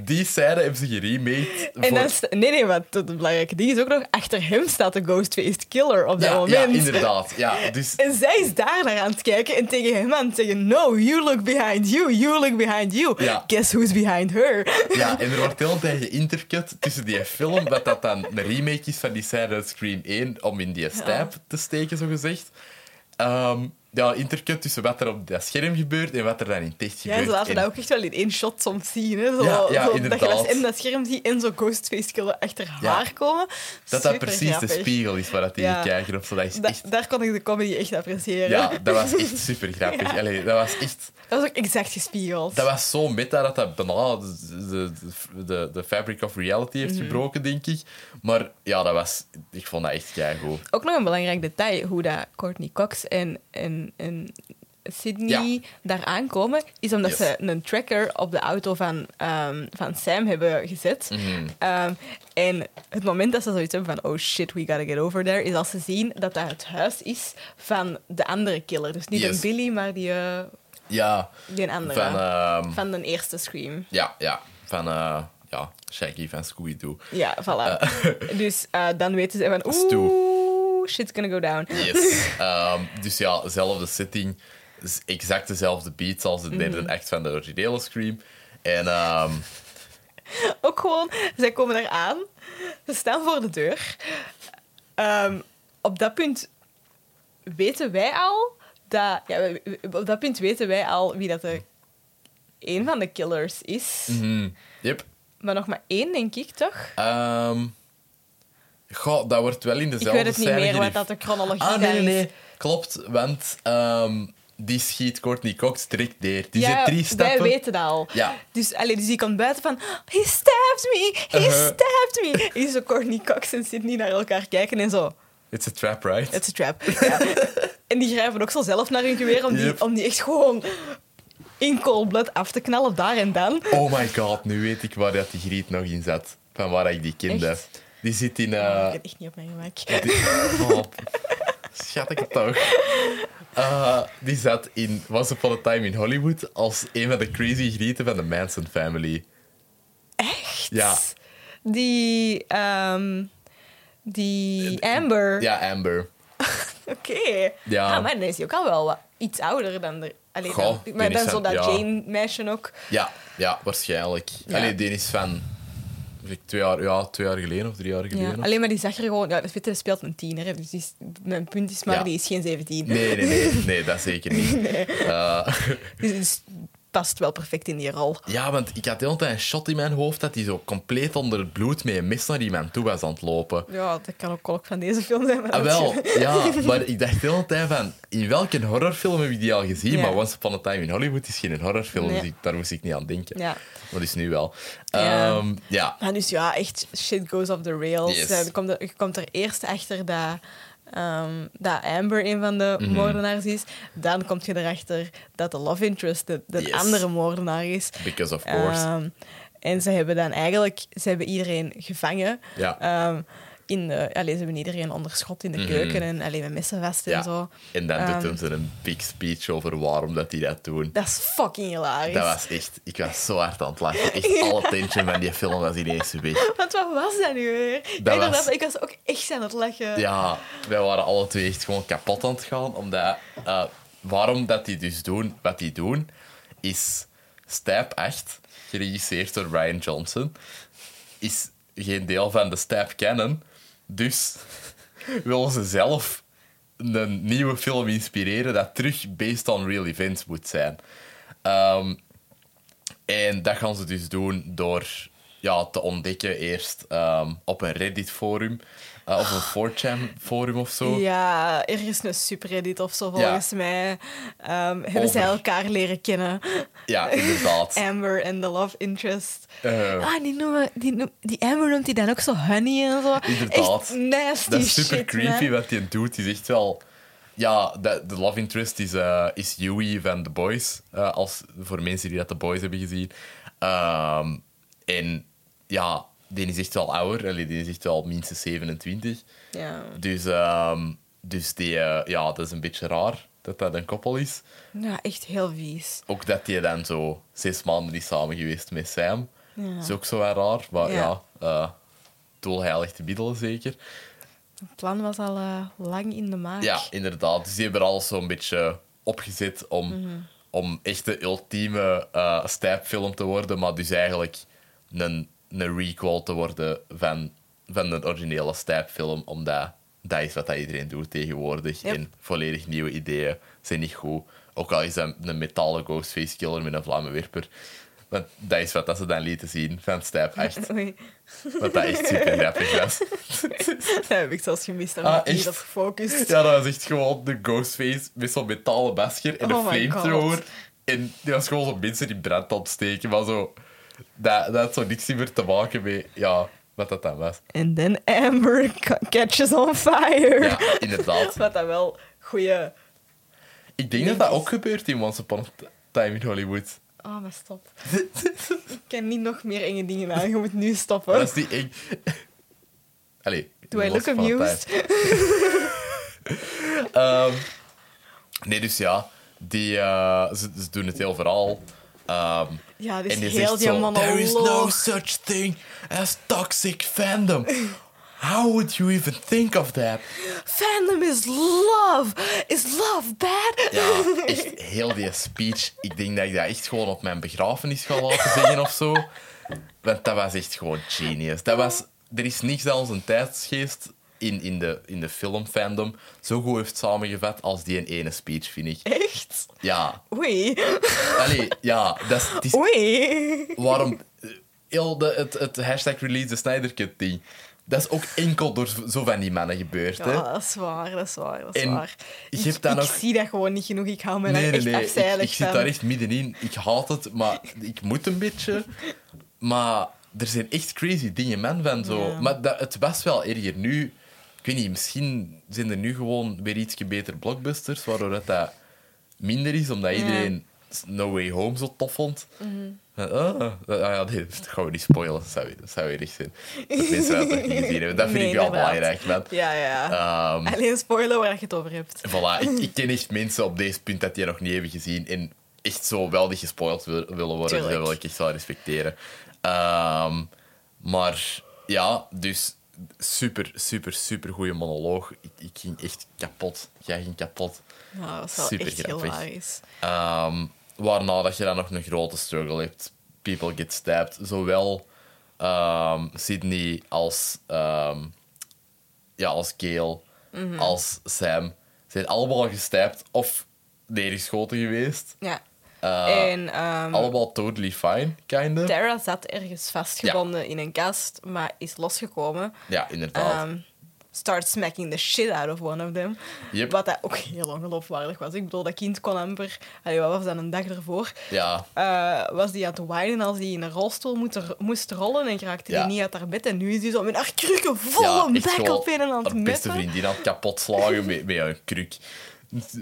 A: Die scène hebben ze geremaked.
B: En
A: voor-
B: dan sta- nee, nee, maar het belangrijke ding is ook nog... Achter hem staat de Ghostface Killer op dat
A: ja, ja,
B: moment.
A: inderdaad. Ja, dus
B: En zij is daar naar aan het kijken en tegen hem aan het zeggen... No, you look behind you, you look behind you.
A: Ja.
B: Guess who's behind her?
A: Ja, en er wordt heel tijd geïntercut tussen die film, dat dat dan een remake is van die scène uit Scream 1, om in die stijp te steken, zogezegd. Ehm ja, intercut tussen wat er op dat scherm gebeurt en wat er dan in het echt
B: Ja,
A: gebeurt.
B: ze laten
A: En-
B: dat ook echt wel in één shot soms zien. Hè? Zo,
A: Ja, ja,
B: zo dat je dat
A: inderdaad.
B: in dat scherm ziet en zo'n ghostface killer achter
A: Ja.
B: haar komen.
A: dat dat
B: Super
A: precies de
B: grappig.
A: spiegel is waar dat die
B: Ja.
A: kijken op. zo, Dat is
B: Da-
A: echt...
B: Daar kon ik de comedy echt appreciëren.
A: Ja, dat was echt super grappig.
B: Ja.
A: Allee, dat was echt...
B: Dat was ook exact gespiegeld.
A: Dat was zo meta dat dat bijna de, de, de, de fabric of reality heeft
B: Mhm.
A: gebroken, denk ik. Maar ja, dat was... Ik vond dat echt keigoed.
B: Ook nog een belangrijk detail, hoe dat Courtney Cox en, en, en Sydney
A: Ja.
B: daar aankomen, is omdat
A: Yes.
B: ze een tracker op de auto van, ehm, van Sam hebben gezet.
A: Mhm.
B: Ehm, en het moment dat ze zoiets hebben van oh shit, we gotta get over there, is als ze zien dat dat het huis is van de andere killer. Dus niet
A: Yes.
B: een Billy, maar die, eh,
A: Ja,
B: die een andere.
A: van...
B: Van,
A: ehm,
B: de eerste Scream.
A: Ja, ja. Van eh, ja, Shaggy van Scooby-Doo.
B: Ja, voilà. dus eh, dan weten ze van
A: is toe.
B: oeh, shit's gonna go down.
A: Yes. Ehm, dus ja, zelfde setting. z-
B: Mhm.
A: Exact dezelfde beats als de derde act van de originele Scream. En ehm,
B: Ook gewoon, zij komen daar aan, ze staan voor de deur. Ehm, op dat punt weten wij al dat. Ja, we- we- op dat punt weten wij al wie dat de, een van de killers is.
A: Mhm. Yep.
B: Maar nog maar één, denk ik toch?
A: Ehm, goh, dat wordt wel in
B: Ik
A: dezelfde
B: weet het niet
A: scène
B: meer wat
A: gerief.
B: dat de chronologie
A: Ah, nee, nee,
B: daar is.
A: nee. Klopt, want ehm, die schiet Courtney Cox direct neer. Die zit drie stappen...
B: Wij weten dat al.
A: Ja.
B: Dus, allee, dus die komt buiten van... He stabbed me! He
A: Uh-huh.
B: stabbed me! Is zo Courtney Cox en Sydney naar elkaar kijken en zo...
A: It's a trap, right?
B: It's a trap. Ja. en die grijpen ook zo zelf naar hun geweer om die,
A: Yep.
B: om die echt gewoon in cold blood af te knallen, daar en dan.
A: Oh my god, nu weet ik waar dat die griet nog in zat. Van waar ik die kende.
B: Echt? Oh,
A: Die zit in...
B: ik
A: eh
B: ben echt niet op mijn gemak.
A: die, oh, schat ik het toch. Eh, die zat in Once Upon a Time in Hollywood als een van de crazy grieten van de Manson family.
B: Echt?
A: Ja.
B: Die... ehm, die Amber.
A: Eh, Ja, Amber.
B: Oké.
A: Ja.
B: Ah, maar dan is hij ook al wel wat iets ouder dan de... Allee,
A: Goh,
B: dan-
A: die
B: maar
A: is
B: dan
A: dan-
B: zo dat
A: ja.
B: Jane-meisje ook.
A: Ja, ja waarschijnlijk.
B: Ja.
A: Allee, die is van... zeg, Twee jaar, ja, twee jaar geleden of drie jaar geleden.
B: Ja.
A: of
B: Alleen maar die zag er gewoon... Ja, dat weet je, dat speelt een tiener. hè, Dus die is- mijn punt is maar,
A: Ja.
B: die is geen 17.
A: Nee, nee, nee, nee, dat zeker niet. Eh,
B: Dus, dus past wel perfect in die rol.
A: ja, want ik had de hele tijd een shot in mijn hoofd dat hij zo compleet onder het bloed met een mes naar iemand toe was aan het lopen.
B: Ja, dat kan ook kolk van deze film zijn. Maar
A: Ah,
B: dat-
A: wel, ja, maar ik dacht de hele tijd van, in welke horrorfilm heb ik die al gezien?
B: Ja.
A: Maar Once Upon a Time in Hollywood is geen horrorfilm,
B: Nee.
A: dus ik- daar moest ik niet aan denken.
B: Ja.
A: Maar dat is nu wel.
B: Ja.
A: Ehm, ja.
B: Maar dus ja, echt shit goes off the rails.
A: Yes.
B: Eh, Je, komt er, je komt er eerst achter dat, ehm, dat Amber een van
A: Mhm.
B: de moordenaars is. Dan kom je erachter dat de love interest de, de
A: Yes.
B: andere moordenaar is.
A: Because of course.
B: Ehm, en ze hebben dan eigenlijk ze hebben iedereen gevangen.
A: Ja. Mhm.
B: Ehm, in de, allee, ze hebben iedereen onderschot in de keuken en alleen met messen vast en
A: ja.
B: zo.
A: En dan
B: Ehm.
A: doet hem ze een big speech over waarom dat die dat doen.
B: Dat is fucking hilarisch.
A: Dat was echt, ik was zo hard aan het lachen. Echt alle tension van die film was ineens weg.
B: Want wat was dat nu weer? Ik weet
A: Dat
B: nog
A: was-
B: dat- ik was ook echt aan het lachen.
A: Ja, wij waren alle twee echt gewoon kapot aan het gaan. Omdat, eh, waarom dat die dus doen wat die doen, is Stap 8, geregisseerd door Ryan Johnson, is geen deel van de Stap Canon. Dus willen ze zelf een nieuwe film inspireren dat terug based on real events moet zijn. Ehm, en dat gaan ze dus doen door ja, te ontdekken eerst ehm, op een Reddit-forum eh, of een 4chan-forum of zo.
B: Ja, er is een subreddit of zo volgens mij. Ehm, hebben zij
A: Over.
B: elkaar leren kennen.
A: Ja, inderdaad.
B: Amber en de love interest.
A: Eh,
B: Ah, die, noemen, die, noem- die Amber noemt die dan ook zo honey en zo.
A: Inderdaad.
B: Echt nasty
A: dat is super
B: shit,
A: creepy
B: man.
A: wat hij doet. Die zegt wel... Ja, de, de love interest is, eh is Yui van The Boys. eh, als, voor mensen die dat The Boys hebben gezien. Ehm, en ja, die is echt wel ouder. allee, Die is echt wel minstens 27.
B: Ja.
A: Dus, ehm, dus die, eh, ja, dat is een beetje raar dat dat een koppel is.
B: ja, echt heel vies.
A: Ook dat die dan zo zes maanden is samen geweest met Sam.
B: Ja.
A: is ook zo wel raar. Maar
B: Ja.
A: ja, eh doel heilig te middelen zeker.
B: Het plan was al eh, lang in de maak.
A: Ja, inderdaad. Dus die hebben er alles zo'n beetje opgezet om, om echt de ultieme eh stijpfilm te worden. Maar dus eigenlijk een, een requel te worden van, van de originele stijpfilm. Omdat dat is wat dat iedereen doet tegenwoordig.
B: Yep.
A: En volledig nieuwe ideeën zijn niet goed. Ook al is dat een metalen ghostface killer met een vlammenwerper. Want dat is wat dat ze dan lieten zien van Stijp 8.
B: Oei,
A: Wat dat echt super grappig was.
B: dat heb ik zelfs gemist. Daar
A: Ah,
B: ben ik niet
A: echt?
B: op gefocust.
A: Ja, dat was echt gewoon de Ghostface met zo'n metalen masker en
B: Oh
A: een
B: my
A: flamethrower.
B: God.
A: En die was gewoon zo mensen in brand aan het steken, maar zo... Dat, dat had zo niks meer te maken met ja, wat dat dan was.
B: And then Amber ca- catches on fire.
A: Ja, inderdaad.
B: Wat dat wel goede.
A: Ik denk dat dat ook gebeurt in Once Upon a Time in Hollywood.
B: Oh, maar stop. ik ken niet nog meer enge dingen aan. Je moet nu stoppen.
A: Maar dat is niet eng. Allee.
B: Do I
A: in
B: look
A: Once Upon a Time.
B: amused?
A: Ehm, nee, dus ja. Die, eh, ze, ze doen het heel verhaal. Ehm,
B: Ja, dit
A: En
B: is
A: die
B: heel
A: zegt
B: die
A: zo, There is no
B: monoloog.
A: such thing as toxic fandom. How would you even think of that?
B: Fandom is love. Is love bad?
A: Ja, echt heel die speech. Ik denk dat ik dat echt gewoon op mijn begrafenis ga laten zingen of zo. Want dat was echt gewoon genius. Dat was, er is niks dat onze tijdsgeest in, in, de, in de filmfandom zo goed heeft samengevat als die ene speech, vind ik.
B: Echt?
A: Ja,
B: Oei.
A: allee, ja, dat is, het is
B: Oei.
A: waarom eh, heel de, het, het hashtag release de Snyder Cut ding. Dat is ook enkel door z- zo van die mannen gebeurd. hè?
B: Ja, dat is waar, dat is waar, dat is
A: En
B: waar.
A: je
B: Ik,
A: hebt dan
B: ik
A: nog-
B: zie dat gewoon niet genoeg. Ik hou me daar echt
A: Ik,
B: afzijdig
A: ik zit
B: van.
A: daar echt middenin. Ik haat het, maar ik moet een beetje. Maar er zijn echt crazy dingen, man, van zo.
B: Ja.
A: Maar dat, het was wel erger nu. Ik weet niet, misschien zijn er nu gewoon weer ietsje beter blockbusters, waardoor dat, dat minder is, omdat
B: Ja. Mhm.
A: iedereen No Way Home zo tof vond. Van, ah, ah, ja, nee, dat gaan we niet spoilen. Dat zou, dat zou weer echt zijn. Dat mensen dat nog niet gezien hebben. Dat vind
B: Nee,
A: ik wel
B: inderdaad.
A: belangrijk, man.
B: Ja, ja.
A: Ehm,
B: Alleen spoiler waar je het over hebt.
A: Voilà, ik, ik ken echt mensen op deze punt dat die nog niet hebben gezien en echt zo weldig gespoild wil- willen worden. Dus dat
B: Tuurlijk.
A: wil ik echt wel respecteren. Ehm, maar ja, dus super, super, super goede monoloog. Ik, ik ging echt kapot. Jij ging kapot.
B: Nou, dat is wel
A: Super
B: echt
A: grappig.
B: hilarisch.
A: Ehm, waarna dat je dan nog een grote struggle hebt. People get stabbed. Zowel ehm, Sydney als, ehm, ja, als Gail,
B: Mhm.
A: als Sam zijn allemaal gestapt of neergeschoten geweest.
B: Ja.
A: Eh,
B: en ehm,
A: Allemaal totally fine, kinda.
B: Tara zat ergens vastgebonden in een kast, maar is losgekomen.
A: Ja, inderdaad.
B: Ehm, start smacking the shit out of one of them.
A: Yep.
B: Wat dat ook heel ongeloofwaardig was. Ik bedoel, dat kind kon amper... Allee, wat was dat, een dag ervoor?
A: ja,
B: eh, was die aan het whinen als die in een rolstoel moet- moest rollen en raakte
A: Ja.
B: die niet uit haar bed. En nu is die zo met haar krukken vol
A: ja,
B: een
A: echt
B: bek
A: gewoon
B: op een en aan het
A: Haar beste
B: meppen.
A: vriendin had kapot slagen met, met een kruk.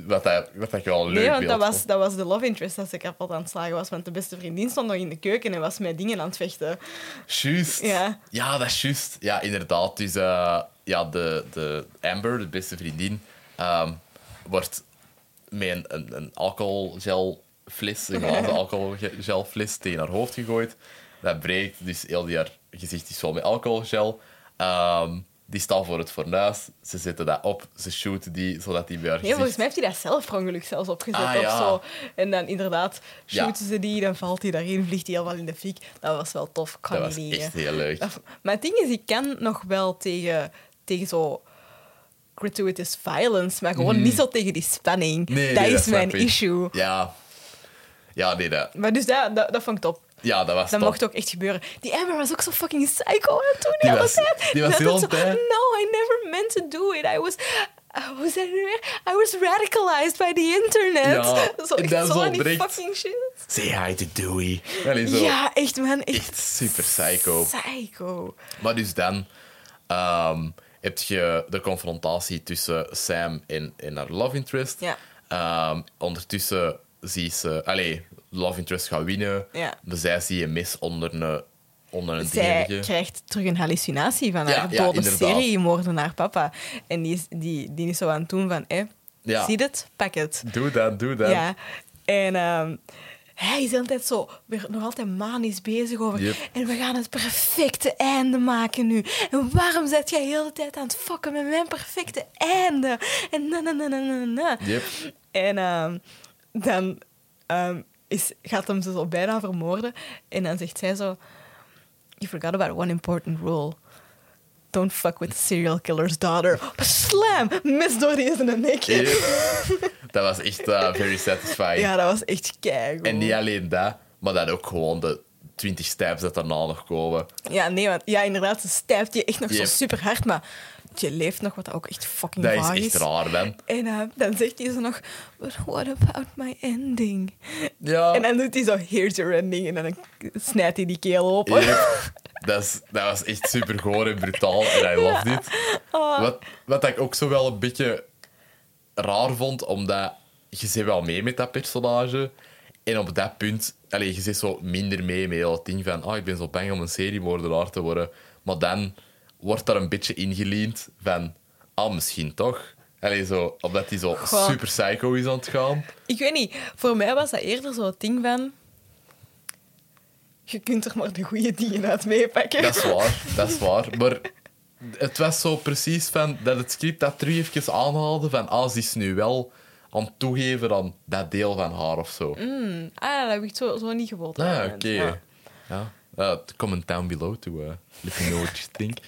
A: Wat, dat, wat dat ik wel een leuk
B: Nee, want dat
A: beeld
B: was,
A: vond.
B: dat was de love interest dat ze kapot aan het slagen was. Want de beste vriendin stond nog in de keuken en was met dingen aan het vechten.
A: Juist.
B: Ja.
A: Ja, dat is juist. Ja, inderdaad. Dus eh, ja, de, de Amber, de beste vriendin, ehm, wordt met een, een, een alcoholgelfles, een glazen alcoholgelfles, tegen haar hoofd gegooid. Dat breekt, dus heel die haar gezicht is vol met alcoholgel. Ehm, die staan voor het fornuis, ze zetten dat op, ze shooten die, zodat die bij haar
B: Nee, volgens
A: gezicht...
B: mij heeft hij dat zelf per ongeluk zelfs opgezet
A: Ah,
B: of
A: ja.
B: zo. En dan inderdaad
A: Ja.
B: shooten ze die, dan valt hij daarin, vliegt hij helemaal in de fik. Dat was wel tof, ik kan
A: Dat
B: niet
A: was
B: liegen.
A: echt heel leuk.
B: Dat- Maar het ding is, ik kan nog wel tegen, tegen zo gratuitous violence, maar gewoon niet zo tegen die spanning.
A: Mhm. Nee,
B: dat
A: nee,
B: is mijn
A: snap ik.
B: issue.
A: Ja. Ja, nee, dat,
B: Maar dus dat, dat, dat vond ik top.
A: ja, dat was
B: Dat
A: top.
B: mocht ook echt gebeuren. Die Amber was ook zo fucking psycho aan toen
A: Die
B: de hele
A: was-
B: tijd.
A: die was
B: Dat
A: heel
B: het zo,
A: blij.
B: No, I never meant to do it. I was... uh, Hoe zei hij nu weer? I was radicalized by the internet.
A: Ja,
B: zo
A: en
B: echt
A: dat
B: zo
A: zo
B: aan die
A: direct.
B: fucking shit.
A: Say hi to Dewey. Allee, zo.
B: Ja, echt man. Echt,
A: Echt super psycho.
B: Psycho.
A: Maar dus dan ehm, heb je de confrontatie tussen Sam en, en haar love interest.
B: Ja.
A: Ehm, ondertussen zie ze... Allee, love interest gaat winnen.
B: Ja.
A: Maar zij zie je mis onder een, onder een
B: Zij
A: dingetje.
B: krijgt terug een hallucinatie van
A: Ja,
B: haar
A: ja,
B: dode
A: inderdaad.
B: seriemoordenaar papa. En die is, die, die is zo aan het doen van... Eh,
A: Ja.
B: Zie het? Pak het.
A: Doe dat, doe dat.
B: Ja. En ehm, hij is altijd zo, weer nog altijd manisch bezig over.
A: Yep.
B: En we gaan het perfecte einde maken nu. En waarom zet jij heel de tijd aan het fokken met mijn perfecte einde? En na na na na na na.
A: Yep.
B: En ehm, dan ehm, is, gaat hem ze zo bijna vermoorden. En dan zegt zij zo: You forgot about one important rule. Don't fuck with the serial killer's daughter. Slam! Mis door die zijn nek.
A: Yep. dat was echt eh, very satisfying.
B: Ja, dat was echt keigoed.
A: En niet alleen dat, maar dan ook gewoon de 20 steps dat daarna nog komen.
B: Ja, nee, want ja, inderdaad, ze stijft je echt nog zo
A: Yep.
B: super hard, maar je leeft nog, wat dat ook echt fucking
A: Dat
B: waar
A: is echt raar, man.
B: En eh, dan zegt hij zo nog, but what about my ending?
A: Ja.
B: En dan doet hij zo, here's your ending, en dan snijdt hij die keel open.
A: Yep. Dat, is, dat was echt super goor en brutaal. En I love
B: Ja.
A: dit.
B: Oh,
A: Wat, wat ik ook zo wel een beetje raar vond, omdat je zit wel mee met dat personage. En op dat punt, allee, je zit zo minder mee met heel het ding van ah, ik ben zo bang om een seriemoordenaar te worden. Maar dan wordt daar een beetje ingeleend van, ah, misschien toch. Allee, zo, omdat hij zo
B: Goh.
A: super psycho is aan het gaan.
B: Ik weet niet, voor mij was dat eerder zo'n ding van, je kunt er maar de goede dingen uit meepakken.
A: Dat is waar, dat is waar. Maar het was zo precies van dat het script dat terug even aanhaalde van ah, ze is nu wel aan het toegeven aan dat deel van haar of zo.
B: Ah, dat heb ik zo, zo niet gewild.
A: Ah, oké.
B: eigenlijk.
A: Ja.
B: Ja.
A: Uh, comment down below to uh, let me know what you think.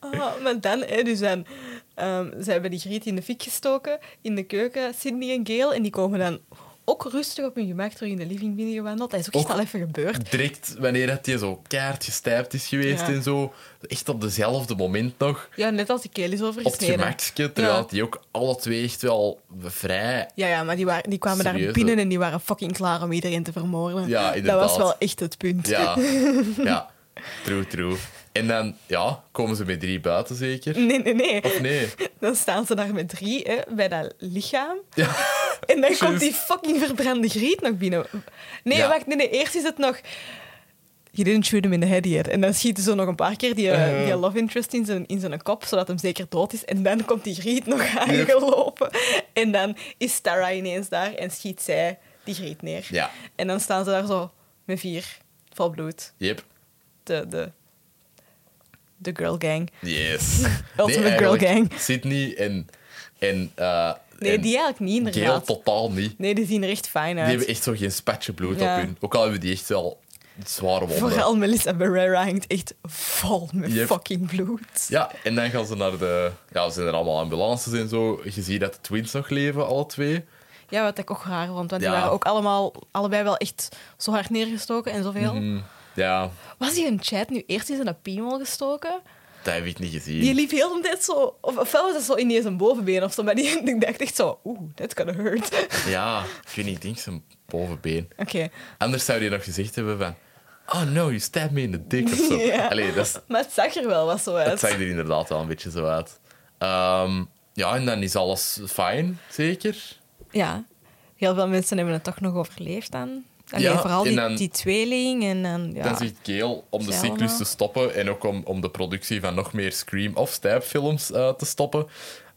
B: Ah, maar dan, hè, dus dan, ehm, ze hebben die griet in de fik gestoken, in de keuken, Sydney en Gail, en die komen dan ook rustig op hun gemak terug in de living binnengewandeld. Dat is ook,
A: Ook-
B: echt al even gebeurd.
A: Direct wanneer dat die zo kaart gestijpt is geweest
B: Ja.
A: en zo, echt op dezelfde moment nog,
B: Ja, net als die keel is
A: op het
B: overgesneden.
A: gemakje, terwijl
B: Ja.
A: die ook alle twee echt wel vrij...
B: Ja, ja, maar die, waren, die kwamen daar
A: Serieus,
B: binnen
A: hè?
B: en die waren fucking klaar om iedereen te vermoorden.
A: Ja,
B: dat
A: inderdaad.
B: was wel echt het punt.
A: Ja, ja, true, true. En dan, ja, komen ze met drie buiten zeker?
B: Nee, nee, nee.
A: Of nee?
B: Dan staan ze daar met drie hè, bij dat lichaam.
A: Ja.
B: En dan komt
A: Juist.
B: die fucking verbrande griet nog binnen. Nee,
A: Ja.
B: wacht. Nee, nee, eerst is het nog... You didn't shoot him in the head yet. En dan schieten ze nog een paar keer die, eh,
A: Eh.
B: die love interest in zijn, in zijn kop, zodat hem zeker dood is. En dan komt die griet nog aangelopen. En dan is Tara ineens daar en schiet zij die griet neer.
A: Ja.
B: En dan staan ze daar zo met vier vol bloed.
A: Yep.
B: De, de, de girl gang.
A: Yes.
B: Ultimate girl
A: eigenlijk
B: gang.
A: Sydney en... en eh,
B: Nee,
A: en
B: die eigenlijk niet,
A: Gail
B: inderdaad.
A: totaal niet.
B: Nee, die zien er echt fijn
A: Die hebben
B: uit.
A: echt zo geen spatje bloed
B: Ja.
A: op hun. Ook al hebben die echt wel zware wonden.
B: Vooral Melissa Barrera hangt echt vol met
A: Yep.
B: fucking bloed.
A: Ja, en dan gaan ze naar de... Ja, ze zijn er allemaal ambulances en zo. Je ziet dat de twins nog leven, alle twee.
B: Ja, wat ik ook raar vond, want die
A: Ja.
B: waren ook allemaal, allebei wel echt zo hard neergestoken en zoveel.
A: Hm, ja,
B: Was die een chat nu eerst in zijn piemel gestoken?
A: dat heb ik niet gezien.
B: Die liep heel de tijd zo, of, ofwel was dat zo ineens een bovenbeen of zo, maar die, ik dacht echt zo, oeh, that's gonna hurt. Oké,
A: Ja, ik weet niet, ik denk zijn bovenbeen. Anders zou die nog gezegd hebben van... Oh no, you stabbed me in the dick of zo.
B: Ja.
A: Allee, dat is
B: maar het zag er wel wat zo uit.
A: Het zag er inderdaad wel een beetje zo uit. Ehm, ja, en dan is alles fijn, zeker.
B: Ja, heel veel mensen hebben het toch nog overleefd dan. Allee,
A: Ja,
B: vooral
A: en
B: die,
A: dan-
B: die tweeling en dan, ja.
A: Dan zegt Gail om de
B: Zij
A: cyclus
B: allemaal.
A: te stoppen en ook om, om de productie van nog meer Scream- of Stab-films eh, te stoppen.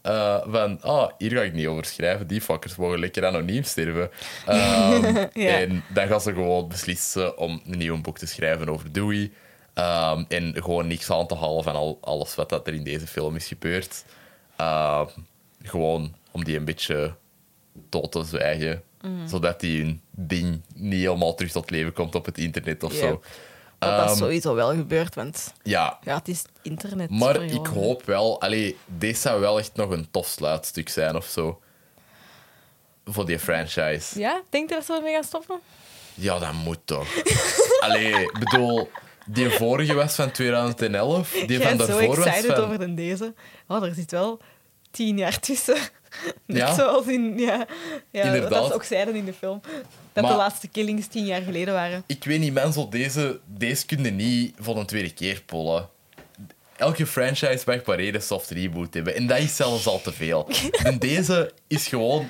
A: eh, van, ah, hier ga ik niet over schrijven, die fuckers mogen lekker anoniem sterven. Ehm,
B: Ja.
A: En dan gaan ze gewoon beslissen om een nieuw boek te schrijven over Dewey. Ehm, en gewoon niks aan te halen van al, alles wat dat er in deze film is gebeurd. Ehm, gewoon om die een beetje dood te zwijgen.
B: Mhm.
A: Zodat die hun ding niet helemaal terug tot leven komt op het internet of
B: Ja.
A: zo.
B: dat dat
A: Ehm,
B: sowieso wel gebeurd, want
A: Ja,
B: ja, het is internet.
A: maar
B: periode.
A: ik hoop wel... Allee, deze zou wel echt nog een tof sluitstuk zijn of zo. Voor die franchise.
B: Ja, denk je dat ze ermee gaan stoppen?
A: Ja, dat moet toch. Allee, ik bedoel, die vorige was van 2011. Die
B: Jij
A: van
B: bent zo
A: daarvoor was
B: excited
A: van...
B: over dan deze. Oh, er zit wel tien jaar tussen. Net
A: Ja.
B: zoals in... Ja, ja
A: Inderdaad.
B: dat ze ook zeiden in de film. Dat
A: Maar-
B: de laatste killings tien jaar geleden waren.
A: Ik weet niet, mensen, deze, deze kunnen niet voor een tweede keer pollen. Elke franchise mag maar één soft reboot hebben. En dat is zelfs al te veel. En deze is gewoon...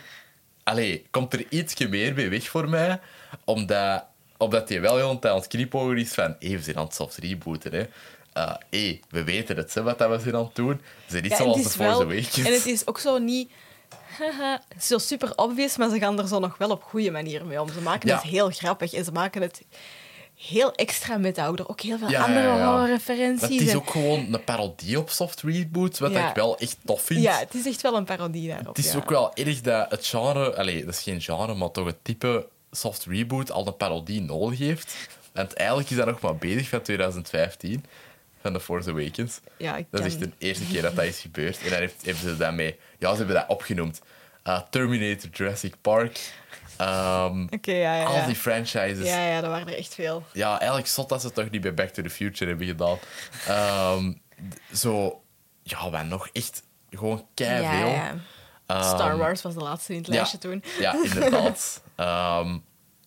A: Allee, komt er ietsje meer bij weg voor mij. Omdat, omdat die wel heel een tijd aan het knipogen is van... Hé, we zijn aan het soft rebooten, hè. Eh, hé, we weten het, hè, wat dat we zijn aan het doen. Ze zijn niet
B: Ja, en
A: zoals
B: het
A: de
B: is
A: Force
B: wel...
A: Awakens.
B: En het is ook zo niet... haha, zo super obvious, maar ze gaan er zo nog wel op goede manier mee om. Ze maken
A: Ja.
B: het heel grappig en ze maken het heel extra met de ouder. Ook heel veel
A: Ja,
B: andere
A: ja, ja.
B: horrorreferenties.
A: Dat is
B: en-
A: ook gewoon een parodie op soft reboot, wat
B: Ja.
A: ik wel echt tof vind.
B: Ja, het is echt wel een parodie daarop.
A: het is
B: ja.
A: ook wel erg dat het genre, allee, dat is geen genre, maar toch het type soft reboot al een parodie nodig heeft. Want eigenlijk is dat nog maar bezig van 2015, van The Force Awakens.
B: Ja, ik
A: Dat is echt
B: ken-
A: de eerste keer dat dat is gebeurd. En daar heeft, hebben ze dat mee... Ja, ze hebben dat opgenoemd. Eh, Terminator, Jurassic Park... ehm,
B: Oké, ja, ja, ja.
A: Al die franchises.
B: Ja, ja, er waren er echt veel.
A: Ja, eigenlijk zot dat ze het toch niet bij Back to the Future hebben gedaan. Ehm, d- zo, ja, wat nog echt gewoon keihard veel.
B: Star Wars was de laatste in het lijstje toen.
A: Ehm, Ja, inderdaad. Ehm,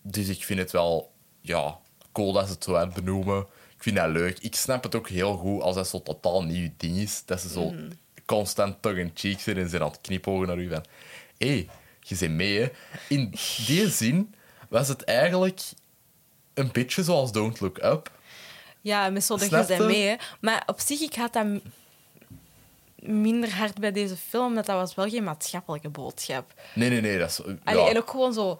A: dus ik vind het wel ja, cool dat ze het zo uitbenoemen. Ik vind dat leuk. Ik snap het ook heel goed als dat zo totaal nieuw ding is. Dat ze zo
B: Mm.
A: constant tongue in cheek zijn en zijn aan het knipogen naar u van... Hé, hey, je bent mee, hè. In die zin was het eigenlijk een beetje zoals Don't Look Up.
B: Ja, met zo'n
A: Snap
B: gezin
A: je?
B: mee. Hè. Maar op zich, ik had dat m- minder hard bij deze film, want dat was wel geen maatschappelijke boodschap.
A: Nee, nee, nee. Dat is,
B: Allee,
A: ja.
B: En ook gewoon zo...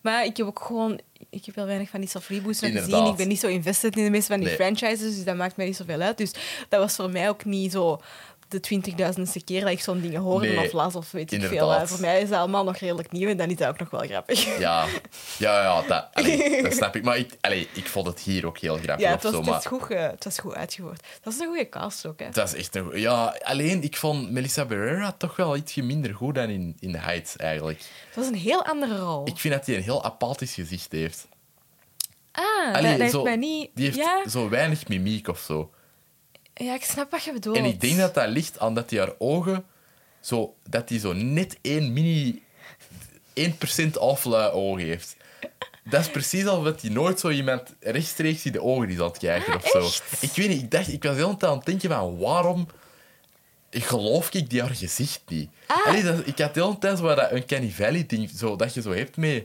B: Maar ik heb ook gewoon... Ik heb heel weinig van die Safribooster gezien.
A: Inderdaad.
B: Ik ben niet zo invested in de meeste van die
A: Nee.
B: franchises, dus dat maakt mij niet zoveel uit. Dus dat was voor mij ook niet zo de twintigduizendste keer dat ik zo'n dingen hoorde
A: Nee,
B: of las of weet ik veel.
A: inderdaad.
B: Eh, Voor mij is dat allemaal nog redelijk nieuw en dan is dat ook nog wel grappig.
A: Ja, ja, ja dat, allee, dat snap ik. Maar ik, allee, ik vond het hier ook heel grappig.
B: Ja, het was,
A: of zo,
B: het,
A: maar
B: is goed, ge- het was goed uitgevoerd. Dat is een goede cast ook, hè.
A: Dat is echt een goe- Ja, alleen ik vond Melissa Barrera toch wel ietsje minder goed dan in, in The Heights eigenlijk.
B: Het was een heel andere rol.
A: Ik vind dat hij een heel apathisch gezicht heeft.
B: ah, dat-
A: Allee,
B: dat heeft
A: zo-
B: mij niet...
A: Die heeft
B: ja,
A: zo weinig mimiek of zo.
B: ja, ik snap wat je bedoelt.
A: En ik denk dat dat ligt aan dat hij haar ogen zo, dat hij zo net één mini 1% aflui oog heeft. Dat is precies alsof dat hij nooit zo iemand rechtstreeks in de ogen is aan het kijken
B: Ah,
A: of zo.
B: echt?
A: Ik weet niet, ik dacht, ik was heel de tijd aan het denken van waarom geloof ik die haar gezicht niet?
B: Ah.
A: Allee, dat, ik had heel de tijd zo dat Uncanny Valley ding, zo, dat je zo hebt met,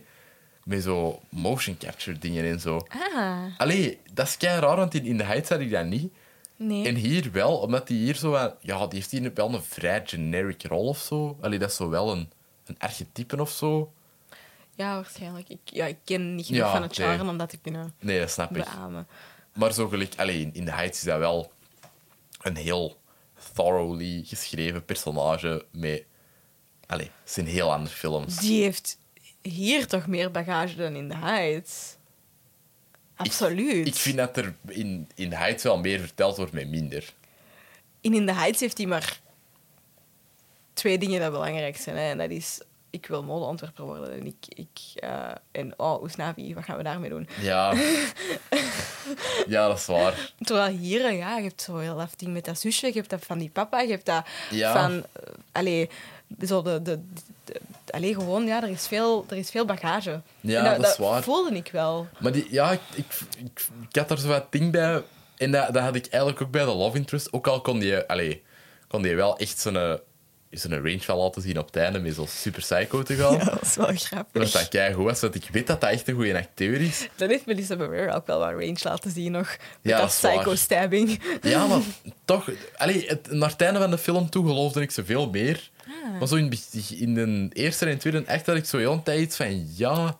A: met zo motion capture dingen en zo.
B: Ah,
A: Allee, dat is kei raar, want in, in de Heights had ik dat niet.
B: nee.
A: En hier wel, omdat die hier zo wel... Ja, die heeft hier wel een vrij generic rol of zo. Allee, dat is zo wel een, een archetype of zo.
B: Ja, waarschijnlijk. Ik, ja, ik ken niet genoeg
A: Ja,
B: van het
A: nee.
B: genre om dat te kunnen
A: Nee, dat snap ik.
B: beamen.
A: Maar zo gelijk... Allee, in, in The Heights is dat wel een heel thoroughly geschreven personage met... Allee, het zijn heel andere films.
B: Die heeft hier toch meer bagage dan in de Heights. Absoluut.
A: Ik vind dat er in, in The Heights wel meer verteld wordt met minder.
B: En in de Heights heeft hij maar twee dingen dat belangrijk zijn. Hè. En dat is, ik wil modeontwerper worden. En, ik, ik, eh, en oh, Oesnavi, wat gaan we daarmee doen?
A: Ja. ja, dat is waar.
B: Terwijl hier, eh, ja, je hebt zo heel dat ding met dat zusje, je hebt dat van die papa, je hebt dat
A: Ja.
B: van... eh, allee, zo de... de, de- de- allee, gewoon, ja, er is veel, er is veel bagage.
A: Ja,
B: En
A: dat is waar.
B: voelde ik wel.
A: Maar die, ja, ik, ik, ik, ik had er zo wat ding bij. En dat, dat had ik eigenlijk ook bij de Love Interest. Ook al kon die, allee, kon die wel echt zo'n eh, zo'n range wel laten zien op het einde met zo'n super psycho te gaan.
B: dat is wel grappig.
A: Dat dat keigoed was, want ik weet dat dat echt een goede acteur is.
B: Dan heeft Melissa Barrera ook wel wat range laten zien nog. Met
A: Ja,
B: dat
A: dat is waar.
B: psycho-stabbing.
A: Ja, maar toch... Allee, het, naar het einde van de film toe geloofde ik ze veel meer. Maar zo in, het beg- in de eerste en tweede echt had ik zo heel een tijd iets van... Ja,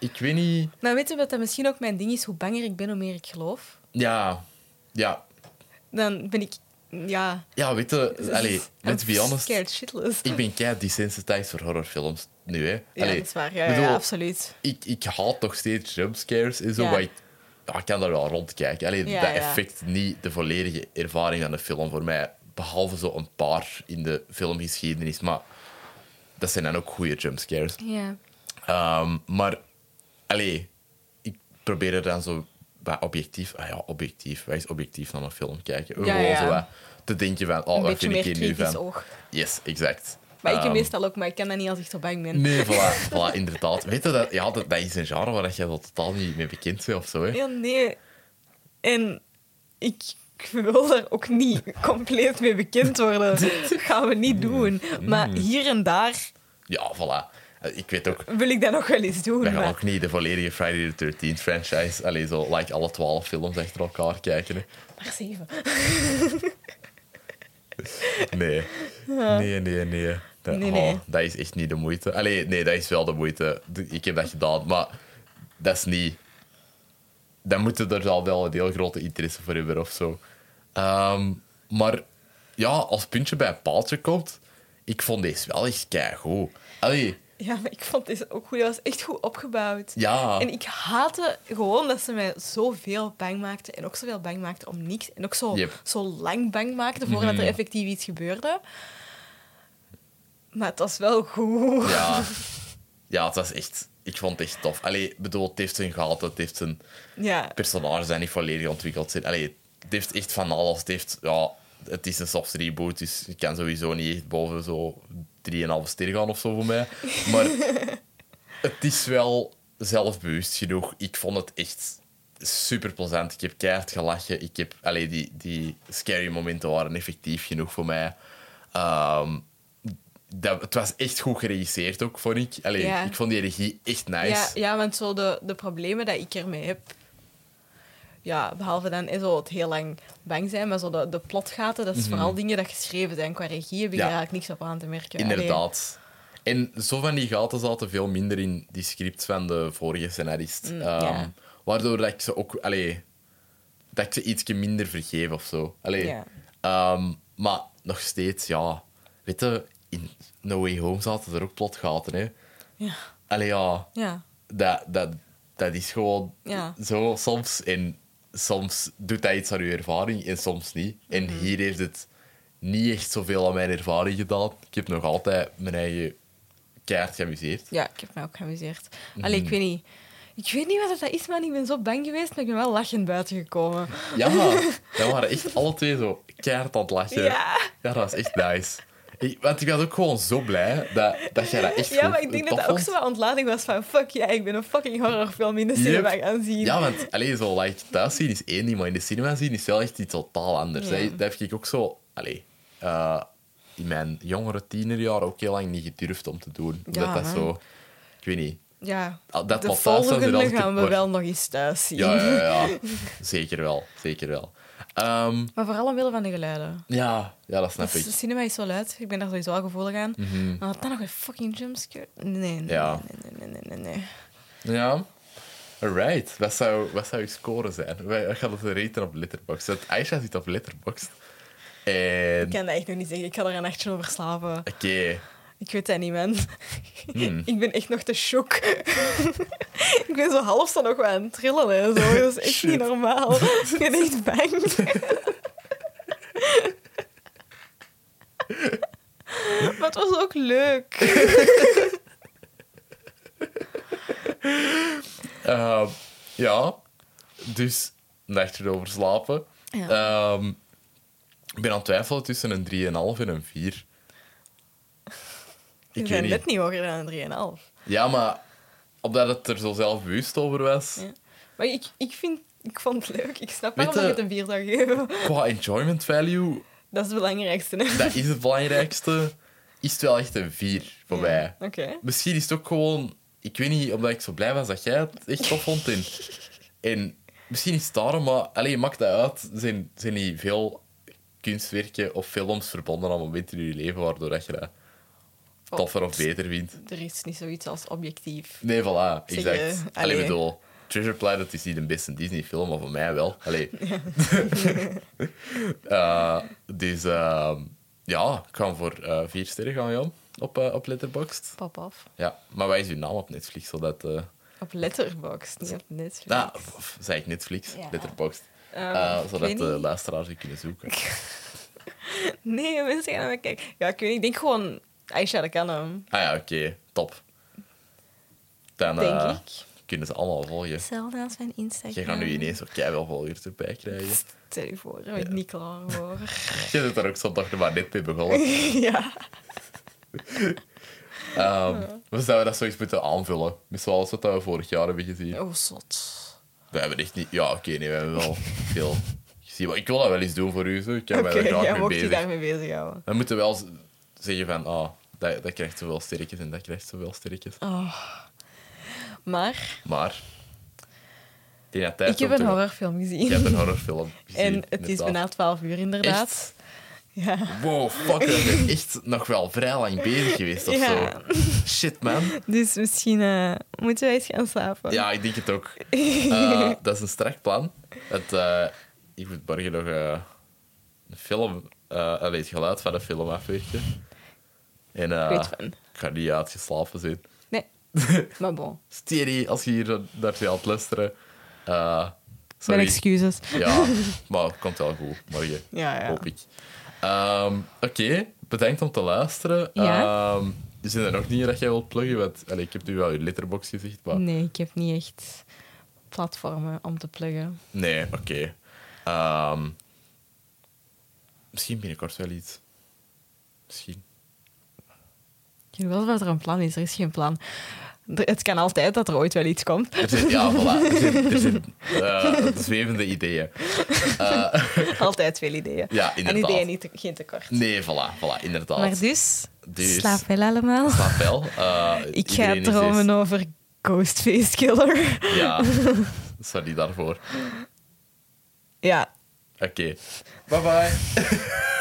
A: ik weet niet...
B: Maar weet je wat dat misschien ook mijn ding is? Hoe banger ik ben, hoe meer ik geloof.
A: Ja, ja,
B: Dan ben ik... Ja...
A: ja weet je... Allee, let's be honest.
B: Scared shitless.
A: Ik ben kei desensitized voor horrorfilms nu, hè.
B: Ja,
A: Allee,
B: dat is waar. Ja,
A: bedoel,
B: ja, absoluut.
A: ik, ik haat toch steeds jumpscares en zo,
B: Ja.
A: maar ik, ja, ik kan daar wel rondkijken. Allee,
B: Ja,
A: dat
B: ja.
A: effect niet de volledige ervaring van de film voor mij. Behalve zo een paar in de filmgeschiedenis, maar dat zijn dan ook goede jumpscares.
B: Ja.
A: Ehm, maar, allee, ik probeer er dan zo wat objectief... Ah ja, objectief. Wij is objectief naar een film kijken?
B: Ja,
A: Gewoon
B: ja.
A: zo wat te denken van, oh,
B: Een
A: wat
B: beetje
A: vind ik
B: meer
A: hier nu
B: kritisch
A: van?
B: oog.
A: Yes, exact.
B: Maar ik
A: Ehm,
B: heb meestal ook, maar ik kan dat niet als ik zo bang ben.
A: Nee, voilà, voilà inderdaad. Weet je, dat, ja, dat, dat is een genre waar je wel totaal niet mee bekend bent of zo. Hè?
B: Ja, nee. En ik wil daar ook niet compleet mee bekend worden. Dat gaan we niet doen. Maar hier en daar
A: Ja, voilà. Eh, Ik weet ook,
B: wil ik dat nog wel eens doen.
A: wij gaan
B: maar-
A: ook niet de volledige Friday the 13th franchise, alleen zo, like alle twaalf films achter elkaar kijken. hè.
B: Maar zeven.
A: Nee. Nee, nee, nee. Dat,
B: Nee, nee.
A: oh, dat is echt niet de moeite. Allee, nee, dat is wel de moeite. De- Ik heb dat gedaan, maar dat is niet... Dan moet je er al wel een heel grote interesse voor hebben of zo. Ehm, maar ja, als puntje bij een paaltje komt, ik vond deze wel echt keigoed. Allee,
B: Ja, maar ik vond deze ook goed. Dat was echt goed opgebouwd.
A: ja.
B: En ik haatte gewoon dat ze mij zoveel bang maakten. En ook zoveel bang maakten om niks. En ook zo,
A: Yep. Mhm.
B: zo lang bang maakten voordat er effectief iets gebeurde. Maar het was wel goed.
A: Ja. ja, het was echt... Ik vond het echt tof. Allee, bedoel, het heeft zijn gaten, het heeft zijn...
B: Ja.
A: personages zijn niet volledig ontwikkeld zijn. Allee, het heeft echt van alles. Het, heeft, ja, het is een soft reboot, dus je kan sowieso niet echt boven zo 3,5 ster gaan of zo voor mij. Maar het is wel zelfbewust genoeg. Ik vond het echt super plezant. Ik heb keihard gelachen. Ik heb, allee, die, die scary momenten waren effectief genoeg voor mij. Ehm, dat, het was echt goed geregisseerd ook, vond ik. Allee,
B: Ja.
A: Ik vond die regie echt nice.
B: Ja, ja, want zo de, de problemen dat ik ermee heb... Ja, behalve dan is zo het heel lang bang zijn, maar zo de, de plotgaten, dat is vooral dingen dat geschreven zijn. Qua regie heb ik
A: Mhm. Ja.
B: daar eigenlijk niks op aan te merken. Allee,
A: Inderdaad. En zo van die gaten zaten veel minder in die scripts van de vorige scenarist. Ehm,
B: Mm, ja.
A: Waardoor dat ik ze ook... Allee, dat ik ze ietsje minder vergeef of zo. Allee,
B: Ja.
A: ehm, maar nog steeds, ja... Weet je, in No Way Home zaten er ook plotgaten, hè.
B: Ja.
A: Allee, ja...
B: Ja.
A: Dat, dat, dat is gewoon
B: Ja.
A: zo soms. En soms doet dat iets aan uw ervaring en soms niet. En
B: Mhm.
A: hier heeft het niet echt zoveel aan mijn ervaring gedaan. Ik heb nog altijd mijn eigen kaart geamuseerd.
B: Ja, ik heb mij ook geamuseerd.
A: Mhm.
B: Allee, ik weet niet. Ik weet niet wat het dat is, man. Ik ben zo bang geweest, maar ik ben wel lachend buiten gekomen.
A: Ja, maar dat waren echt alle twee zo keihard aan het lachen.
B: Ja.
A: Ja, dat was echt nice. Ik- want ik was ook gewoon zo blij dat, dat jij dat echt
B: Ja,
A: goed-
B: maar ik denk dat
A: tof
B: dat ook
A: vond.
B: zo wat ontlading was van... Fuck ja, ik ben een fucking horrorfilm in de
A: Yep.
B: cinema gaan zien.
A: Ja, want alleen zo like, thuis zien is één ding, maar in de cinema zien is wel echt iets totaal anders.
B: Ja.
A: hè. Dat heb ik ook zo allee, eh, in mijn jongere tienerjaren ook heel lang niet gedurfd om te doen. Omdat
B: Ja,
A: dat
B: hè.
A: zo, ik weet niet.
B: Ja,
A: Ah, dat
B: de
A: was thuis, dat is er
B: volgende
A: altijd
B: gaan we
A: voor.
B: wel nog eens thuis zien.
A: Ja, ja, ja, ja. zeker wel. Zeker wel. Ehm,
B: Maar vooral omwille van de geluiden.
A: ja, ja, dat snap
B: Dus
A: ik.
B: de cinema is zo luid. Ik ben daar sowieso al gevoelig aan. En had dan nog een fucking jumpscare? Nee, nee,
A: Mhm. Ja.
B: nee, nee, nee, nee, nee.
A: Ja. Alright, wat zou, wat zou je score zijn? Wij wij gaan het raten op Letterboxd. Want Aisha zit op Letterboxd. En...
B: Ik kan dat echt nog niet zeggen. Ik ga er een nachtje over slapen.
A: Oké.
B: Ik weet dat niet, man.
A: Hmm.
B: ik ben echt nog te shock. ik ben zo half zo nog wel aan het trillen en zo. Dat is echt
A: Shit.
B: niet normaal. ik ben echt bang. maar het was ook leuk.
A: Ehm, ja, dus een nachtje erover slapen.
B: Ja.
A: Ehm, ik ben aan het twijfelen tussen een 3,5 en een 4.
B: Ik
A: Ik weet
B: ben
A: niet.
B: net niet hoger dan een 3,5.
A: Ja, maar omdat het er zo zelfbewust over was,
B: Ja. Maar ik, ik, vind, ik vond het leuk. Ik snap
A: Weet
B: waarom dat je
A: je-
B: het een 4 zou geven.
A: qua enjoyment value,
B: Dat is het belangrijkste. hè?
A: dat is het belangrijkste, is het wel echt een 4 voor mij.
B: Oké.
A: Misschien is het ook gewoon, ik weet niet, omdat ik zo blij was dat jij het echt tof vond. En, en misschien is het daarom, maar alleen maakt dat uit. Zijn, zijn niet veel kunstwerken of films verbonden aan momenten in je leven waardoor dat je dat
B: Oh.
A: toffer of beter vindt?
B: Er is niet zoiets als objectief.
A: Nee, voilà,
B: Zeg,
A: exact.
B: eh,
A: allee,
B: allee.
A: bedoel, Treasure Planet is niet de beste Disney-film, maar voor mij wel. Allee. Eh, dus ehm, ja, ik ga voor eh, vier sterren gaan, Jan, op, eh, op Letterboxd.
B: Pap af.
A: Ja, maar wij is uw naam op Netflix, zodat... eh,
B: Op Letterboxd, niet op Netflix.
A: Nou, of- of zei ik Netflix,
B: Ja.
A: Letterboxd.
B: Ehm,
A: Eh,
B: ik
A: zodat
B: weet
A: de
B: niet.
A: luisteraars je kunnen zoeken.
B: Nee, mensen gaan naar me kijken. Ja, ik weet niet. Ik denk gewoon... Aisha, dat kan hem.
A: Ah ja, oké, top. Dan
B: Denk
A: eh,
B: ik. ehm.
A: kunnen ze allemaal volgen.
B: Hetzelfde als mijn Instagram.
A: Jij gaat nu ineens ook wel volgers erbij krijgen.
B: Pst, Stel je voor, daar ben ik niet klaar voor.
A: Je bent daar ook zondag er maar net mee begonnen.
B: ja.
A: Ehm we zouden dat zoiets moeten aanvullen. Met zoals wat we vorig jaar hebben gezien.
B: Oh, zot.
A: We hebben echt niet... Ja, oké, nee, we hebben wel veel gezien. Maar ik wil dat wel eens doen voor u. Zo. Ik heb
B: Oké,
A: mij daar
B: jij
A: graag mee
B: mocht je
A: bezig.
B: daarmee bezighouden.
A: We moeten wel z- zeggen van... Ah, dat, dat krijgt zoveel sterretjes en dat krijgt zoveel sterretjes.
B: Oh. Maar
A: Maar. Die had tijd
B: ik heb
A: om te-
B: een horrorfilm gezien.
A: Je hebt een horrorffilm. gezien,
B: en het is
A: inderdaad.
B: bijna 12 uur, inderdaad.
A: Echt?
B: Ja.
A: Wow, fuck, we zijn echt nog wel vrij lang bezig geweest of
B: Ja.
A: zo. Shit, man.
B: Dus misschien eh, moeten wij eens gaan slapen.
A: Ja, ik denk het ook. Eh, dat is een strak plan. Het, eh, ik moet morgen nog eh, een film, eh allee, het geluid van de film afwerken. En eh,
B: Ik weet van.
A: ik ga niet uitgeslapen zijn.
B: Nee. maar bon,
A: Steady, als je hier naar zit aan het luisteren. eh,
B: mijn
A: sorry.
B: excuses.
A: Ja, maar het komt wel goed morgen.
B: Ja, ja.
A: Hoop ik. Ehm, Oké, bedankt om te luisteren.
B: Ja.
A: Ehm, zijn er nog dingen dat jij wilt pluggen? Want, allee, ik heb nu wel je letterbox gezegd, maar
B: Nee, ik heb niet echt platformen om te pluggen.
A: nee, oké. Ehm, misschien binnenkort wel iets. Misschien.
B: Ik weet wel dat er een plan is. Er is geen plan. Er- Het kan altijd dat er ooit wel iets komt.
A: Er zijn, ja, voilà. Er zijn, er zijn, eh, zwevende ideeën.
B: Altijd veel ideeën.
A: Ja,
B: En
A: inderdaad.
B: ideeën niet, geen tekort.
A: Nee, voilà, voilà inderdaad.
B: Maar dus,
A: Dus-
B: slaap wel allemaal.
A: Slaap wel. Eh,
B: Ik ga
A: iedereen is
B: dromen over Ghostface Killer.
A: eerst- Ja, sorry daarvoor.
B: ja,
A: Oké. Bye bye.